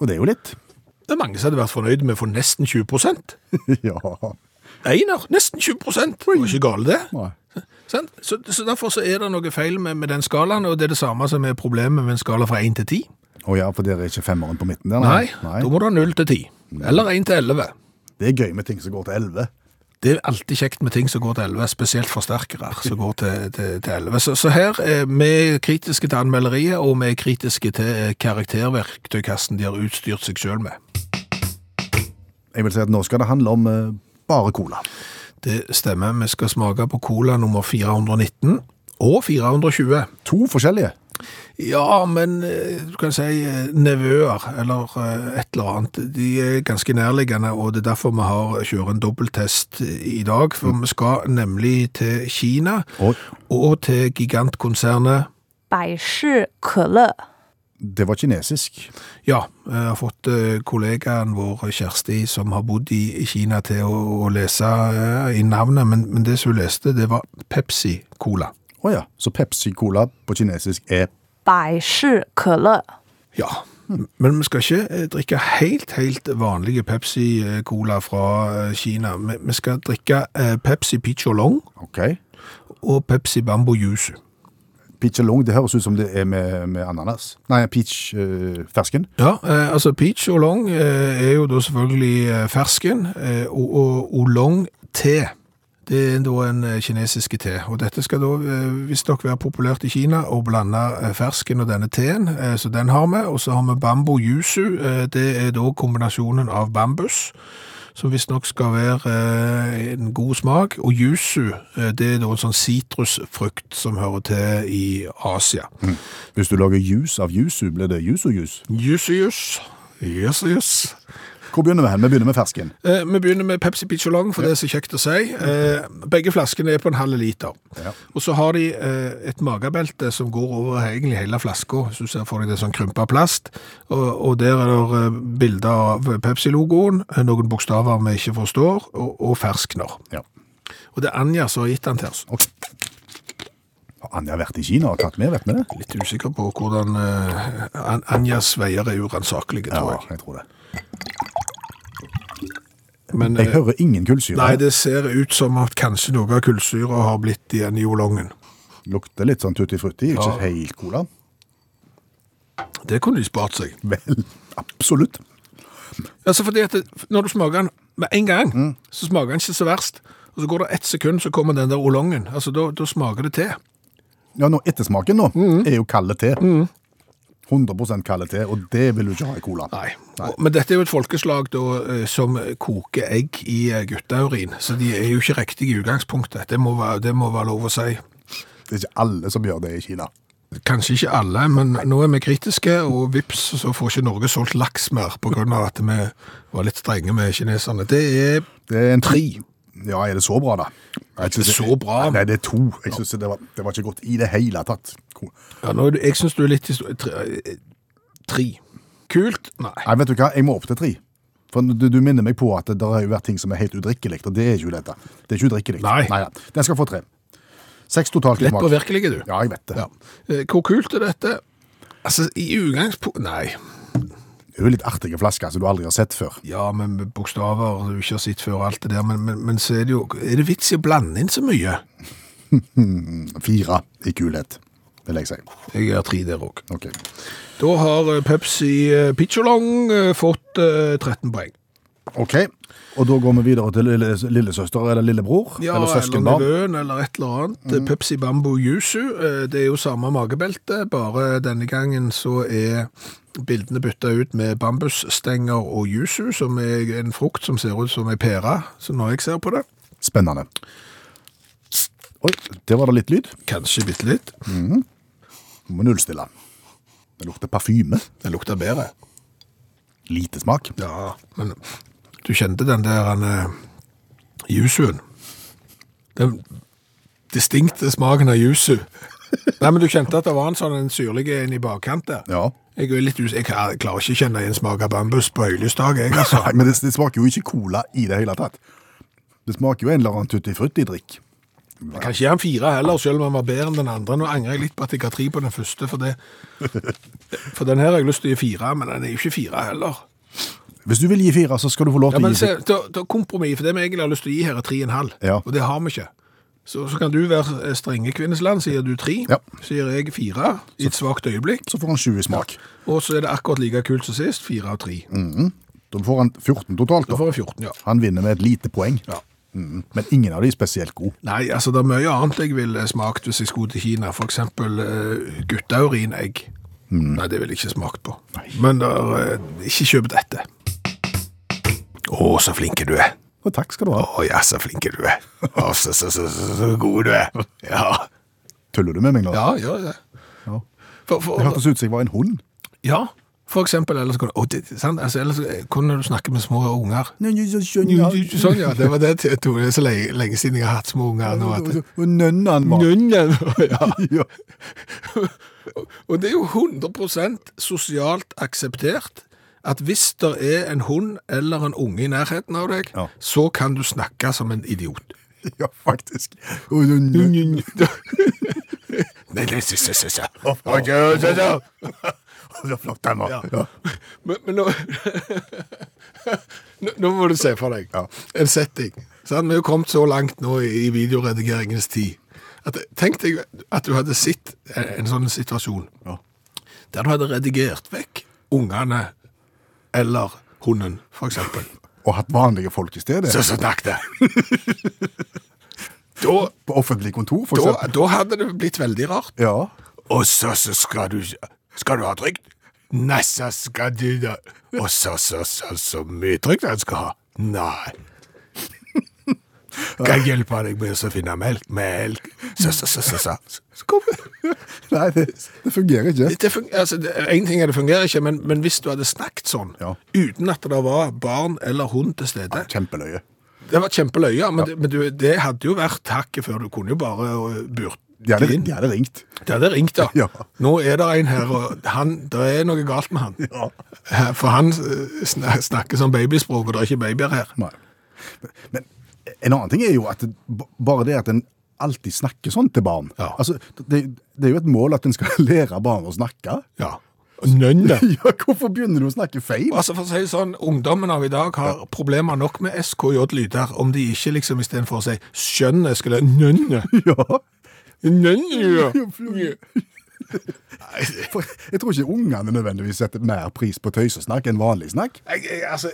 og det er jo litt. [laughs]
Det er mange som hadde vært fornøyd med å få nesten 20 prosent.
ja.
Ener, nesten 20 prosent. Det var ikke galt det.
Nei.
Sant? Så, så derfor så er det noe feil med, med den skalaen, og det er det samme som er problemet med en skala fra 1 til 10.
Å ja, for dere er ikke femmeren på midten der?
Nei,
nei.
da må du ha 0 til 10. Eller 1 til 11.
Det er gøy med ting som går til elleve.
Det er alltid kjekt med ting som går til 11, spesielt forsterkere som går til, til, til 11. Så, så her, eh, vi er kritiske til anmelderiet, og vi er kritiske til eh, karakterverktøykassen de har utstyrt seg selv med.
Jeg vil si at nå skal det handle om eh, bare cola.
Det stemmer, vi skal smake på cola nummer 419 og 420.
To forskjellige.
Ja, men eh, du kan si eh, nevøer eller eh, et eller annet. De er ganske nærliggende, og det er derfor vi har eh, kjører en dobbelttest eh, i dag. For vi skal nemlig til Kina
Og
og til gigantkonsernet
百事可乐、
Det var kinesisk.
Ja, jeg har fått eh, kollegaen vår, Kjersti, som har bodd i i Kina, til å, å lese eh, i navnet, men, men det som hun leste, det var Pepsi-Cola.
Å ja. Så Pepsi Cola på kinesisk er
百事可乐。
Ja, men vi skal ikke eh, drikke helt, helt vanlige Pepsi-Cola fra eh, Kina. Vi vi skal drikke eh, Pepsi Picholong
OK.
og Pepsi Bambo Yuzu.
Peach long, det høres ut som det er med, med ananas. Nei, peach eh, fersken.
Ja, eh, altså peach og long eh, er jo da selvfølgelig eh, fersken, eh, og, og oolong-te. Det er da en eh, kinesiske te, og dette skal da eh, visstnok være populært i Kina, å blande eh, fersken og denne teen, eh, så den har vi. Og så har vi bambo yuzu, eh, det er da kombinasjonen av bambus, som visstnok skal være eh, en god smak, og yuzu, eh, det er da en sånn sitrusfrukt som hører til i Asia.
Hvis du lager juice av yuzu, blir det yuzu-juice.
Yuzu-jus, yuzu-jus.
Hvor begynner vi hen? Vi begynner med fersken.
Eh, Vi begynner med Pepsi Picholong, for det er så kjekt å si. Eh, Begge flaskene er på en halv liter.
Ja.
Og så har de eh, et magebelte som går over egentlig hele flaska. Hvis du ser for deg det er sånn krympa plast. Og, og der er det eh, bilder av Pepsi-logoen, eh, noen bokstaver vi ikke forstår, og, og ferskner.
Ja.
Og det er Anja som har gitt den til oss.
Har Anja vært i Kina og tatt med, vet vi det?
Litt usikker på hvordan eh, An- Anjas veier er uransakelige, tror jeg.
jeg tror det.
Men,
Jeg
eh,
hører ingen kullsyre.
Nei, det ser ut som at kanskje noe av kullsyra har blitt igjen i olongen.
Lukter litt sånn tutti frutti, ikke
Ja.
helt cola.
Det kunne de spart seg.
Vel, absolutt.
Altså fordi at det, Når du smaker den med en gang, så smaker den ikke så verst. Og Så går det ett sekund, så kommer den der olongen. Altså, Da, da smaker det te.
Ja, nå, Ettersmaken nå
Mm.
er jo kalde te. 100 kalde te, og det vil du ikke ha i cola.
Nei. Og- Men dette er jo et folkeslag da, eh, som koker egg i eh, guttaurin, så de er jo ikke riktige i utgangspunktet. Det må, være, det må være lov å si.
Det er ikke alle som gjør det i Kina.
Kanskje ikke alle, men nå er vi kritiske, og vips, så får ikke Norge solgt laks mer pga. at vi var litt strenge med kineserne. Det er
Det er en tre. Ja, er det så bra, da? Jeg synes
Det er så bra.
Nei, det er to. Jeg synes det, var, det var ikke godt i det hele tatt. Cool.
ja, nå, er du- Jeg syns du er litt histor- tre- eh, Tre. Kult? Nei.
Nei, vet du hva? Jeg må opp til tre. For du, du minner meg på at det der har jo vært ting som er helt udrikkelig, og det er ikke dette. Det er ikke udrikkelig.
Nei.
ja. Den skal få tre. Seks totalt i
Lett
smak.
påvirkelig, du.
Ja, jeg vet det.
Ja. Eh, Hvor kult er dette? Altså, i utgangspunkt Nei.
Det er jo litt artige flasker som du aldri har sett før.
Ja, men med bokstaver du ikke har sett før, og alt det der. Men, men, men så er det jo Er det vits i å blande inn så mye?
Fire i kulhet, vil jeg si.
Jeg er tre der òg.
Ok.
Da har eh, Pepsi eh, Picholong eh, fått eh, 13 poeng.
Ok, og da går vi videre til lille, lillesøster eller lillebror,
Ja,
eller
eller Mm.
søskenbarn.
nevøen, eller et eller annet. Pepsi Bambo Yuzu. eh, Det er jo samme magebelte, bare denne gangen så er bildene bytta ut med bambusstenger og yuzu, som er en frukt som ser ut som ei pære, så når jeg ser på det.
Spennende. Oi, der var det litt lyd.
Kanskje bitte litt.
Vi Må nullstille. Det lukter parfyme.
Den lukter bedre.
Lite smak.
Ja, men du kjente den der han, eh, yuzuen. Den distinkte smaken av yuzu. Nei, men du kjente at det var en sånn en syrlig en i bakkant der.
Ja.
Jeg, er litt us jeg klarer ikke å kjenne igjen smak av bambus på høylysdag, jeg, altså.
Nei, men det, det smaker jo ikke cola i det hele tatt. Det smaker jo en eller annen tutti-frutti-drikk.
Jeg kan ikke gi han fire heller, selv om han var bedre enn den andre. Nå angrer jeg litt på at jeg ga tre på den første, for, det. for den her har jeg lyst til å gi fire, men den er jo ikke fire heller.
Hvis du vil gi fire, så skal du få lov
Ja,
til å
men
gi
se,
fire.
da, da kompromiss, for det vi egentlig har lyst til å gi her er 3,5,
Ja.
og det har vi ikke. Så, så kan du være eh, strenge kvinnesland, sier du 3,
Ja.
sier jeg 4 i et svagt øyeblikk,
Så får han 20 i smak.
og så er det akkurat like kult som sist, 4 av 3.
Da får han 14 totalt.
Da
Mm, Da.
får jeg 14, ja.
Han vinner med et lite poeng.
Ja.
Mhm. Men ingen av de er spesielt gode.
Nei, altså det er mye annet jeg ville smakt hvis jeg skulle til Kina, for eksempel uh, guttaurinegg.
Mm.
Nei, det ville jeg ikke smakt på. Men der, eh, ikke kjøp dette. Å, så flinke du er.
Og takk skal du ha.
Å ja, så flinke du er. Å, så, så, så, så, så god du er. Ja,
Tuller du med meg nå?
Ja, gjør det.
Ja.
For,
Det
for,
hørtes ut som jeg var en hund.
ja, for eksempel, ellers kunne, å, det, sant? Altså, ellers kunne du snakke med små unger. Sånn, ja, det var det jeg tok. Det er så lenge, lenge siden jeg har hatt små unger nå. At, [laughs]
Og nønnen var
Nunnen, ja.
Ja.
Og det er jo 100 sosialt akseptert at hvis det er en hund eller en unge i nærheten av deg,
Ja.
så kan du snakke som en idiot.
[laughs] Ja, faktisk. [laughs] Og
Nei, nei, se, se, se, se.
så flott den var. Ja.
Men, men nå, [laughs] nå Nå må du se for deg en setting. Sant? vi er jo kommet så langt nå i videoredigeringens tid. At, tenk deg at du hadde sett en, en sånn situasjon
Ja.
der du hadde redigert vekk ungene eller hunden, for eksempel.
Og hatt vanlige folk i stedet.
Så snakk det! da,
På offentlig kontor, for
da,
eksempel.
da hadde det blitt veldig rart.
Ja.
Og så, så skal du Skal du ha trygt? Nei, så skal du da Og så, så, så, så mye trygt han skal ha? Nei. Kan jeg hjelpe deg med å finne melk? Melk? Så, så, så, så, så. så kom.
[laughs] Nei, det, det fungerer ikke.
Det fun- altså, det, en ting er det fungerer ikke, men, men hvis du hadde snakket sånn,
Ja.
uten at det var barn eller hund til stede
Kjempeløye.
Det var kjempeløye, men, det, men du, det hadde jo vært hakket før. Du kunne jo bare øh, burt
De hadde,
inn.
de hadde ringt.
Det hadde ringt, da.
[laughs] Ja.
Nå er det en her, og han, det er noe galt med han. Eh, For han eh, sna- snakker som babyspråk, og det er ikke babyer her.
Nei. Men en annen ting er jo at det, b- bare det at en alltid snakker sånn til barn.
Ja.
Altså, det, det er jo et mål at en skal [laughs] lære barn å snakke.
Ja. Nønne.
[laughs] Ja, hvorfor begynner du å snakke feil?
Altså for å si det sånn, Ungdommen av i dag har problemer nok med SKJ-lyder, om de ikke liksom istedenfor å si 'skjønne' skulle nønne.
[laughs] Ja. [laughs]
Nønne.
For jeg tror ikke ungene nødvendigvis setter mer pris på tøysesnakk enn vanlig snakk.
Jeg, jeg, altså,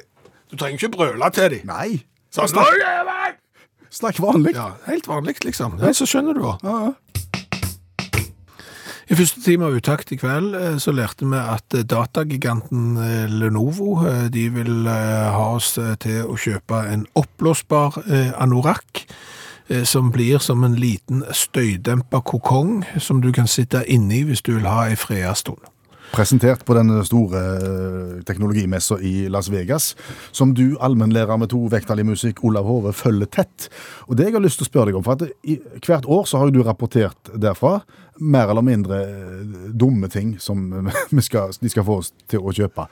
du trenger ikke brøle til dem.
Nei.
Sånn, «Norge er vekk!»
Snakk vanlig.
Ja, helt vanlig, liksom. Nei, så skjønner du det. I første time av Utakt i kveld eh, så lærte vi at eh, datagiganten eh, Lenovo eh, de vil eh, ha oss eh, til å kjøpe en oppblåsbar eh, anorakk eh, som blir som en liten støydempa kokong som du kan sitte inni hvis du vil ha ei freda stund.
Presentert på den store eh, teknologimessa i Las Vegas, som du, allmennlærer med to vekttall i musikk, Olav Hove, følger tett. Og det jeg har lyst til å spørre deg om, for at i, hvert år så har jo du rapportert derfra mer eller mindre eh, dumme ting som [laughs] vi skal, de skal få oss til å kjøpe.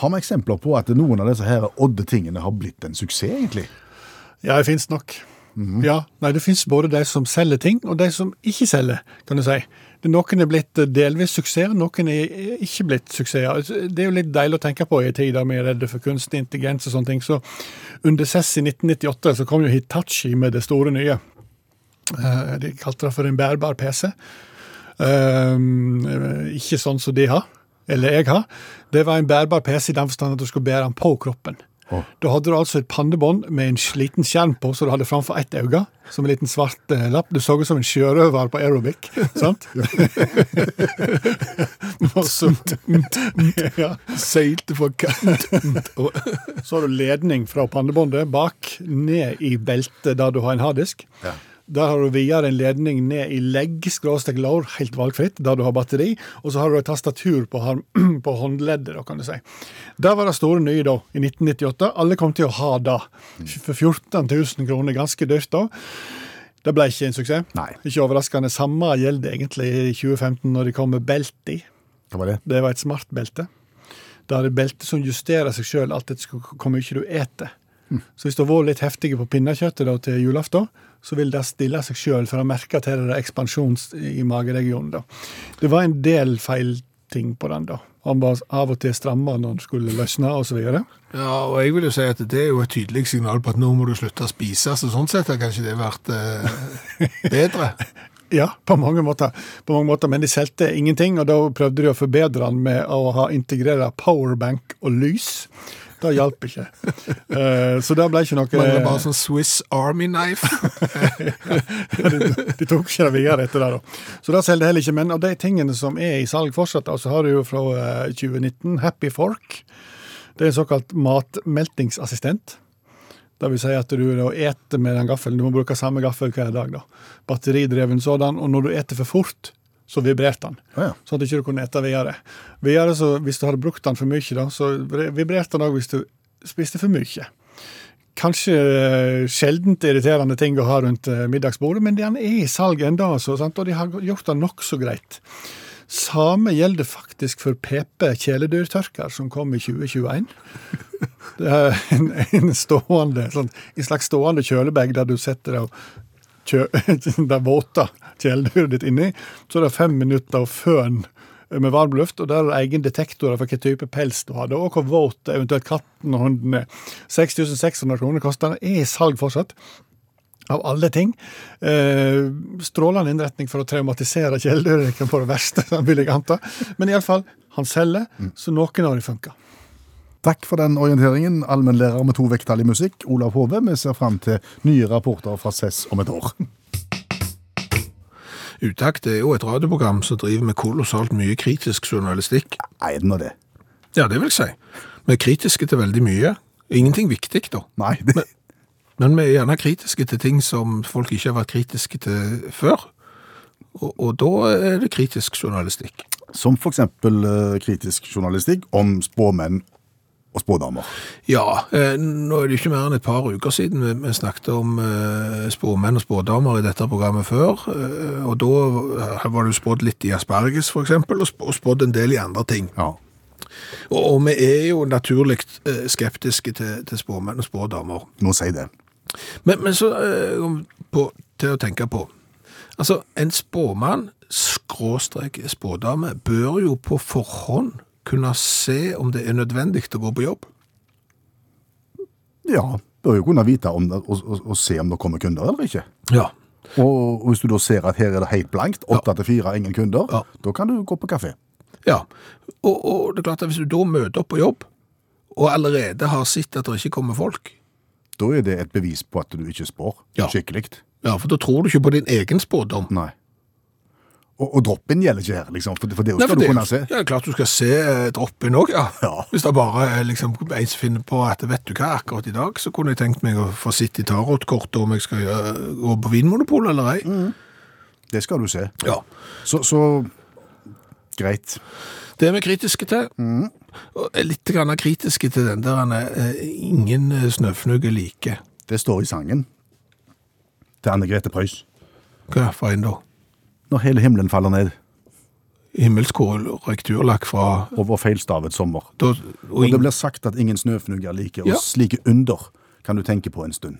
Har vi eksempler på at noen av disse her odde tingene har blitt en suksess, egentlig?
Ja, det finnes nok. Ja, nei, Det finnes både de som selger ting, og de som ikke selger, kan du si. Det- Noen er blitt eh, delvis suksess, noen er ikke blitt suksess. Altså, Det er jo litt deilig å tenke på i en tid der vi er redde for kunstig intelligens og sånne ting. Så under CESS i 1998 så kom jo Hitachi med det store nye. Eh, De kalte det for en bærbar PC. Ehm, eh, ikke sånn som de har, eller jeg har. Det var en bærbar PC i den forstand at du skulle bære den på kroppen. Da hadde du altså et pannebånd med en liten skjerm på, så du hadde framfor ett øye, som en liten svart eh, lapp. Du så ut som en sjørøver på aerobic, [laughs] sant? Og så, [laughs] ja.
Seilte fra kant.
[laughs] så har du ledning fra pannebåndet bak, ned i beltet der du har en harddisk. Der har du videre en ledning ned i legg, skråstrek lår, helt valgfritt, der du har batteri. Og så har du et tastatur på, hånd- [clears throat] på håndleddet, da, kan du si. Der var det store nye da, i 1998. Alle kom til å ha det. For 14 000 kroner, ganske dyrt da. Det ble ikke en suksess.
Nei.
Ikke overraskende. Samme gjelder egentlig i 2015, når de kom med belte i.
Hva var det?
Det var et smart belte. Det er et belte som justerer seg sjøl alt etter hvor hvor mye du eter. Så hvis du har vært litt heftige på pinnekjøttet da, til julaften, så vil det stille seg sjøl, for å merke at her er det ekspansjon i mageregionen. da. Det var en del feil ting på den, da. Han var av og til stramma når han skulle løsne osv.
Ja, og jeg vil jo si at det er jo et tydelig signal på at nå må du slutte å spise, så sånn sett har kanskje det vært [laughs] eh, bedre.
Ja, på mange måter. På mange måter, Men de solgte ingenting, og da prøvde de å forbedre den med å ha integrert powerbank og lys. Det hjalp ikke. Eh, Så det ble ikke noe
Men det er bare sånn Swiss Army Knife.
[laughs] de tok ikke det videre etter det. da. Så det selger det heller ikke. Men av de tingene som er i salg fortsatt, da, så har du jo fra eh, 2019 Happy Fork. Det er en såkalt matmeltingsassistent. Det vil si at du da eter med den gaffelen. Du må bruke samme gaffel hver dag. da. Batteridreven sådan. Og når du eter for fort, så vibrerte den.
Ja, ja.
Sånn at du ikke kunne ete videre. videre så, hvis du hadde brukt den for mye, da, så vibrerte den òg hvis du spiste for mye kanskje eh, sjeldent irriterende ting å ha rundt eh, middagsbordet, men den er i salg ennå, altså, sant? og de har gjort det nokså greit. Samme gjelder faktisk for PP-kjæledyrtørker, som kom i 2021. Det er en, en stående, sånn, en slags stående kjølebag der du setter det, kjø, [laughs] det våte kjæledyret ditt inni. Så er det fem minutter føn med varm luft, og der er det egen detektorer for hvilken type pels du hadde, og hvor våt eventuelt katten og hunden er. 6600 kroner koster den. Er i salg fortsatt. Av alle ting. Eh, strålende innretning for å traumatisere kjæledyret for det verste, [laughs] vil jeg anta. Men iallfall, han selger, så noen av dem funker.
Takk for den orienteringen, allmennlærer med to vekttall i musikk, Olav Hove. Vi ser fram til nye rapporter fra SES om et [laughs] år.
[laughs] Utakt er jo et radioprogram som driver med kolossalt mye kritisk journalistikk.
Er den nå det?
Ja, det vil jeg si. Vi er kritiske til veldig mye. Ingenting viktig, da.
Nei, det,
Men vi er gjerne kritiske til ting som folk ikke har vært kritiske til før. Og, og da er det kritisk journalistikk.
Som f.eks. Uh, kritisk journalistikk om spåmenn og spådamer.
Ja, eh, nå er det jo ikke mer enn et par uker siden vi, vi snakket om eh, spåmenn og spådamer i dette programmet før. Eh, og da eh, var det jo spådd litt i asparges, for eksempel, og spå- og spådd en del i andre ting.
Ja.
Og, og vi er jo naturlig eh, skeptiske til, til spåmenn og spådamer.
Nå si det.
Men, men så eh, kom på, til å tenke på Altså, en spåmann, skråstrek spådame, bør jo på forhånd kunne se om det er nødvendig å gå på jobb.
Ja, bør jo kunne vite om det, og, og, og se om det kommer kunder eller ikke.
Ja.
Og hvis du da ser at her er det helt blankt, åtte til fire, ingen kunder,
Ja.
da kan du gå på kafé.
ja. Og, og det er klart at hvis du da møter opp på jobb, og allerede har sett at det ikke kommer folk
Da er det et bevis på at du ikke spår
Ja.
skikkelig.
Ja, for da tror du ikke på din egen spådom.
Nei. Og, og drop-in gjelder ikke her, liksom, for, for det
Nei,
skal
for
du
det-
kunne se.
Ja, klart du skal se eh, droppen òg, ja.
Ja.
Hvis det bare er liksom, en som finner på at vet du hva, akkurat i dag så kunne jeg tenkt meg å få sitt i tarotkortet om jeg skal gjøre- gå på Vinmonopolet eller ei.
Det skal du se.
Ja.
Så, så greit.
Det er vi kritiske til. Og er Litt grann er kritiske til den der eh, ingen eh, snøfnugg er like.
Det står i sangen til Anne Grete Preus.
Hva for en da?
Når hele himmelen faller ned
Himmelskålrekturlakk fra
over feilstavet sommer.
da,
Og
og
det
ingen,
blir sagt at ingen snøfnugg er like, og
Ja.
slike under kan du tenke på en stund.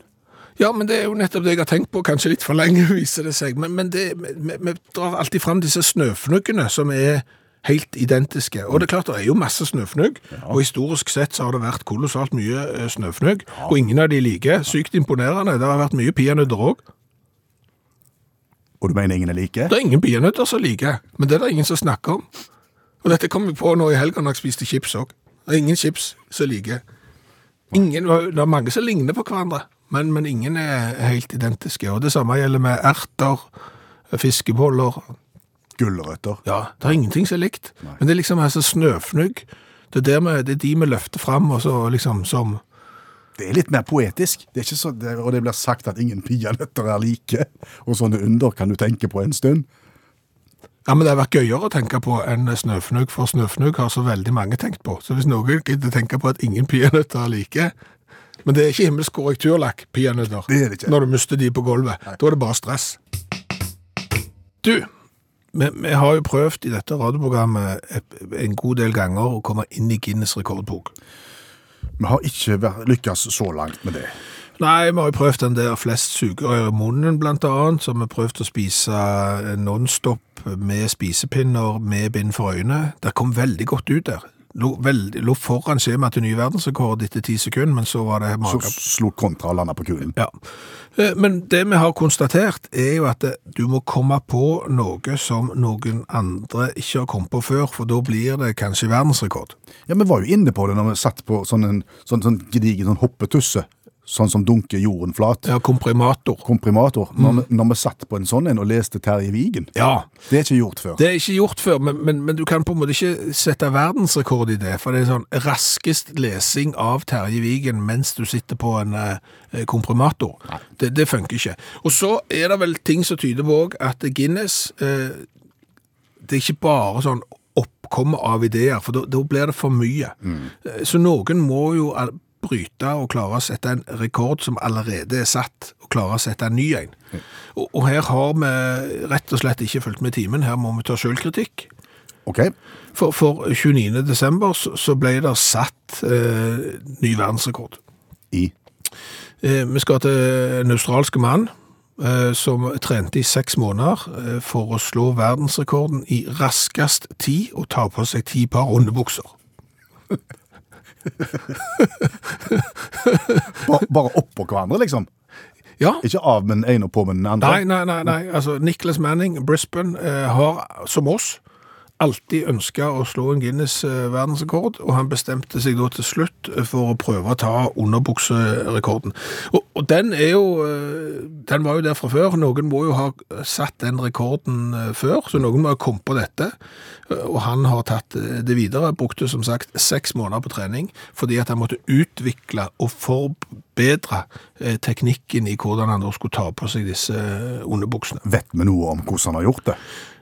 Ja, men det er jo nettopp det jeg har tenkt på, kanskje litt for lenge, [laughs] viser det seg. Men, men det, vi, vi drar alltid fram disse snøfnuggene som er helt identiske. Og det er klart, det er jo masse snøfnugg, og historisk sett så har det vært kolossalt mye eh, snøfnugg, og ingen av de er like. Sykt imponerende. Det har vært mye peanøtter òg.
Og du mener ingen er like?
Det er ingen peanøtter som er like, men det er det ingen som snakker om. Og dette kom vi på nå i helga når jeg spiste chips òg. Det er ingen chips som er like. Ingen, det er mange som ligner på hverandre, men, men ingen er helt identiske. Og det samme gjelder med erter, fiskeboller
Gulrøtter.
Ja, det er ingenting som er likt. Men det er liksom altså snøfnugg. Det er, der vi, det er de vi løfter fram, og så liksom som
Det er litt mer poetisk. Det er ikke så, det, og det blir sagt at ingen peanøtter er like, og sånne under kan du tenke på en stund.
Ja, men det har vært gøyere å tenke på enn snøfnugg, for snøfnugg har så veldig mange tenkt på. Så hvis noen gidder tenke på at ingen [laughs] peanøtter er like Men det er ikke himmelsk korrekturlakk, peanøtter,
Det er det ikke.
når du mister de på gulvet. Da er det bare stress. Du, vi, vi har jo prøvd i dette radioprogrammet et- en god del ganger å komme inn i Guinness rekordbok.
Vi har ikke vært- lykkes så langt med det.
Nei, vi har jo prøvd den der flest sugerør i munnen, blant annet, så vi har prøvd å spise eh, non-stop med spisepinner med bind for øynene. Det kom veldig godt ut der. Lå, veldig, lå foran skjemaet til ny verdensrekord etter ti sekunder, men så var det
Så
mageplask.
slo kontra og landa på kulen.
Ja. Eh, Men det vi har konstatert er jo at eh, du må komme på noe som noen andre ikke har kommet på før, for da blir det kanskje verdensrekord.
Ja, Vi var jo inne på det når vi satt på sånn en sånn, sånn gedigen sånn hoppetusse, sånn som dunker jorden flat.
Ja, Mm. komprimator.
Komprimator. Når, vi, når vi satt på en sånn en og leste Terje Vigen.
Ja,
Det er ikke gjort før.
Det er ikke gjort før, men, men, men du kan på en måte ikke sette verdensrekord i det. For det er sånn raskest lesing av Terje Vigen mens du sitter på en eh, komprimator. Det, det funker ikke. Og så er det vel ting som tyder på òg at Guinness eh, Det er ikke bare sånn oppkomme av ideer, for da- da blir det for mye. Eh, Så noen må jo al- bryte og klare å sette en rekord som allerede er satt, og klare å sette en ny en. Og, og her har vi rett og slett ikke fulgt med timen. Her må vi ta sjølkritikk.
OK.
For, for 29. desember så, så ble det satt eh, ny verdensrekord.
I.
Eh, vi skal til en australske mann eh, som trente i seks måneder eh, for å slå verdensrekorden i raskest tid og ta på seg ti par underbukser.
Bare, bare oppå hverandre, liksom.
Ja,
Ikke av med den ene og på med den andre.
Nei, nei, nei. nei. Altså, Nicholas Manning, Brisbane, eh, har, som oss, alltid ønska å slå en Guinness eh, verdensrekord, og han bestemte seg da til slutt eh, for å prøve å ta underbukserekorden. Og, og den er jo eh, Den var jo der fra før. Noen må jo ha satt den rekorden eh, før, så noen må ha kommet på dette. Eh, Og han har tatt eh, det videre. Brukte som sagt seks måneder på trening fordi at han måtte utvikle og forbedre eh, teknikken i hvordan han da skulle ta på seg disse eh, underbuksene.
Vet vi noe om hvordan han har gjort det?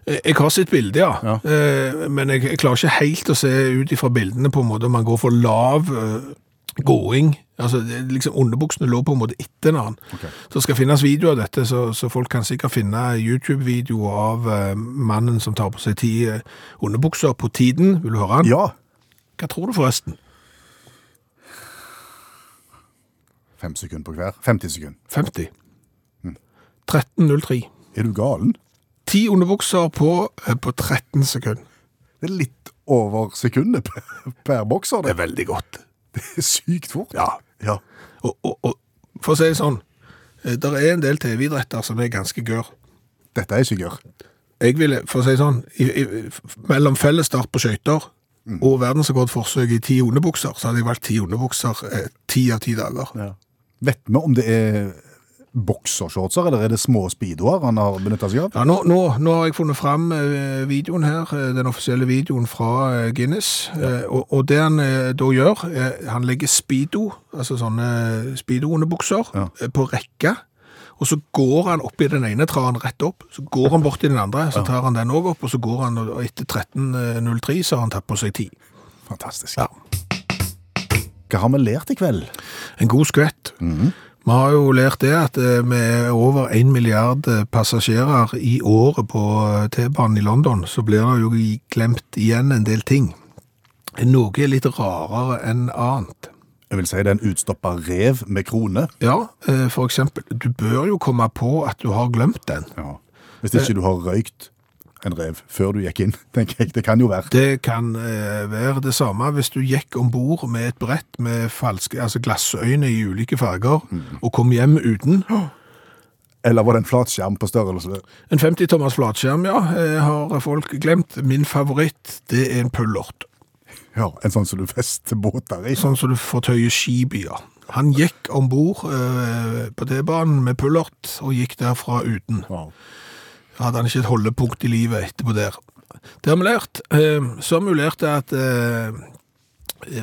Eh, Jeg har sett bilde, ja.
Ja.
Eh, Men jeg jeg klarer ikke helt å se ut ifra bildene på en måte om han går for lav eh, gåing. Altså, det- liksom Underbuksene lå på en måte etter en annen. Så det skal finnes video av dette, så, så folk kan sikkert finne YouTube-video av eh, mannen som tar på seg ti eh, underbukser på tiden. Vil du høre han?
Ja.
Hva tror du forresten?
Fem sekunder på hver. 50 sekunder.
50.
Mm.
13.03.
Er du galen?
Ti underbukser på, eh, på 13 sekunder.
Det er litt over sekundet [laughs] per, per bokser.
Det
Det.
er veldig godt.
det er sykt fort. Ja.
Og, og, og for å si det sånn, det er en del TV-idretter som er ganske gør.
Dette er ikke gørr.
Jeg ville, for å si det sånn, i, i, f- mellom fellesstart på skøyter og verdensrekordforsøk i ti underbukser, så hadde jeg valgt ti underbukser eh, ti av ti dager.
Vet vi om det er boksershortser, eller er det små speedoer han har benytta seg av?
Ja, nå, nå, nå har jeg funnet fram eh, videoen her, eh, den offisielle videoen fra eh, Guinness, eh, og, og det han eh, da gjør, eh, han legger speedo, altså sånne speedo-underbukser,
Ja.
eh, på rekka, og så går han opp i den ene, trar han rett opp, så går han bort i den andre, så tar han den også opp, og så går han, og etter 13.03 så har han tatt på seg 10.
Fantastisk.
Ja.
Hva har vi lært i kveld?
En god skvett. Vi har jo lært det at eh, vi er over en milliard eh, passasjerer i året på eh, T-banen i London, så blir det jo i- glemt igjen en del ting. Noe er litt rarere enn annet.
Jeg vil si det er en utstoppa rev med krone.
Ja, eh, for eksempel, du bør jo komme på at du har glemt den.
Hvis ikke du har røykt en rev før du gikk inn, [laughs] tenker jeg. Det kan jo være.
Det kan eh, være det samme hvis du gikk ombord med et brett med falske, altså glassøyne i ulike farger, og kom hjem uten.
Eller var det en flatskjerm på størrelse?
En 50-tommers flatskjerm, ja, eh, har folk glemt. Min favoritt, det er en pullert.
Ja, en sånn som du fester båter i.
Sånn som du får tøye skip i, ja. Han gikk ombord eh, på T-banen med pullert, og gikk derfra uten.
Wow.
Hadde han ikke et holdepunkt i livet etterpå der. Det har vi lært. Eh, så har vi jo lært at eh,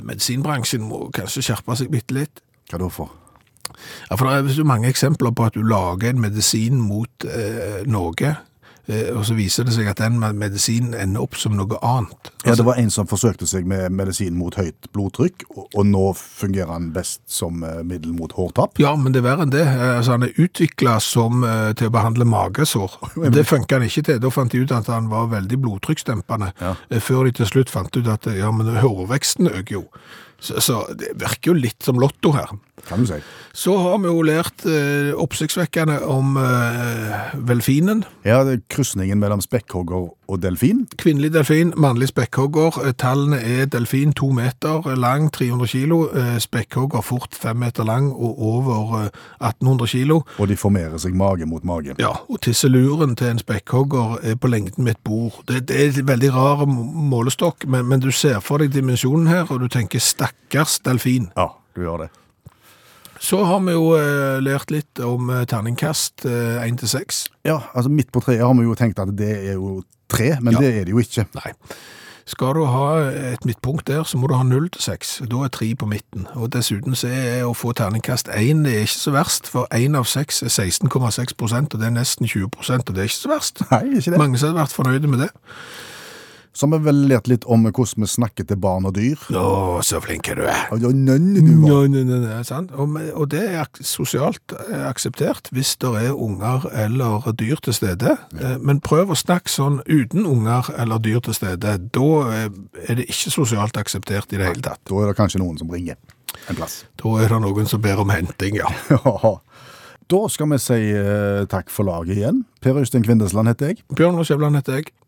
medisinbransjen må kanskje skjerpe seg bitte litt.
Hva da for?
Ja, for det er jo mange eksempler på at du lager en medisin mot eh, Norge, eh, og så viser det seg at den medisinen ender opp som noe annet.
Ja, Det var en som forsøkte seg med medisin mot høyt blodtrykk, og, og nå fungerer han best som eh, middel mot hårtap.
Ja, men det er verre enn det. Eh, Altså, han er utvikla eh, til å behandle magesår. Det funka han ikke til. Da fant de ut at han var veldig blodtrykksdempende. eh, Før de til slutt fant ut at eh, ja, men hårveksten øker jo. Så, så det virker jo litt som lotto her.
Kan du si.
Så har vi jo lært eh, oppsiktsvekkende om eh, velfinen.
Ja, det er Krysningen mellom spekkhogger og delfin.
Kvinnelig delfin, mannlig spekkhogger. Eh, Tallene er delfin to meter lang, 300 kilo. eh, Spekkhogger fort fem meter lang og over eh, 1800 kilo.
Og de formerer seg mage mot mage.
Ja, og tisseluren til en spekkhogger er på lengden med et bord. Det, det er en veldig rar må- målestokk, men, men du ser for deg dimensjonen her, og du tenker stakkars delfin.
Ja, du gjør det.
Så har vi jo eh, lært litt om eh, terningkast eh, 1-6.
Ja, altså Midt på treet har vi jo tenkt at det er jo tre, men det er det jo ikke. [laughs]
Nei. Skal du ha eh, et midtpunkt der, så må du ha 0-6. Da er 3 på midten. Og dessuten så er å få terningkast 1 det er ikke så verst, for 1 av 6 er 16,6 [laughs] prosent, og det er nesten 20 prosent, og det er ikke så verst.
Nei, ikke det.
Mange som hadde vært fornøyde med det.
Så har vi vel lært litt om hvordan vi snakker til barn og dyr.
Å, så flink du eh. er.
Og ja, nønn du var.
Nei, nei, nei, nei, sant? Og, men- og det er ak sosialt eh, akseptert hvis det er unger eller dyr til stede. Eh, Men prøv å snakke sånn uten unger eller dyr til stede. Da eh, er det ikke sosialt akseptert i det hele tatt.
Da er det kanskje noen som ringer en plass. [laughs]
Da er det noen som ber om henting, ja.
da skal vi si eh, takk for laget igjen. Per Øystein Kvindesland heter jeg.
Bjørn Skjævland heter jeg.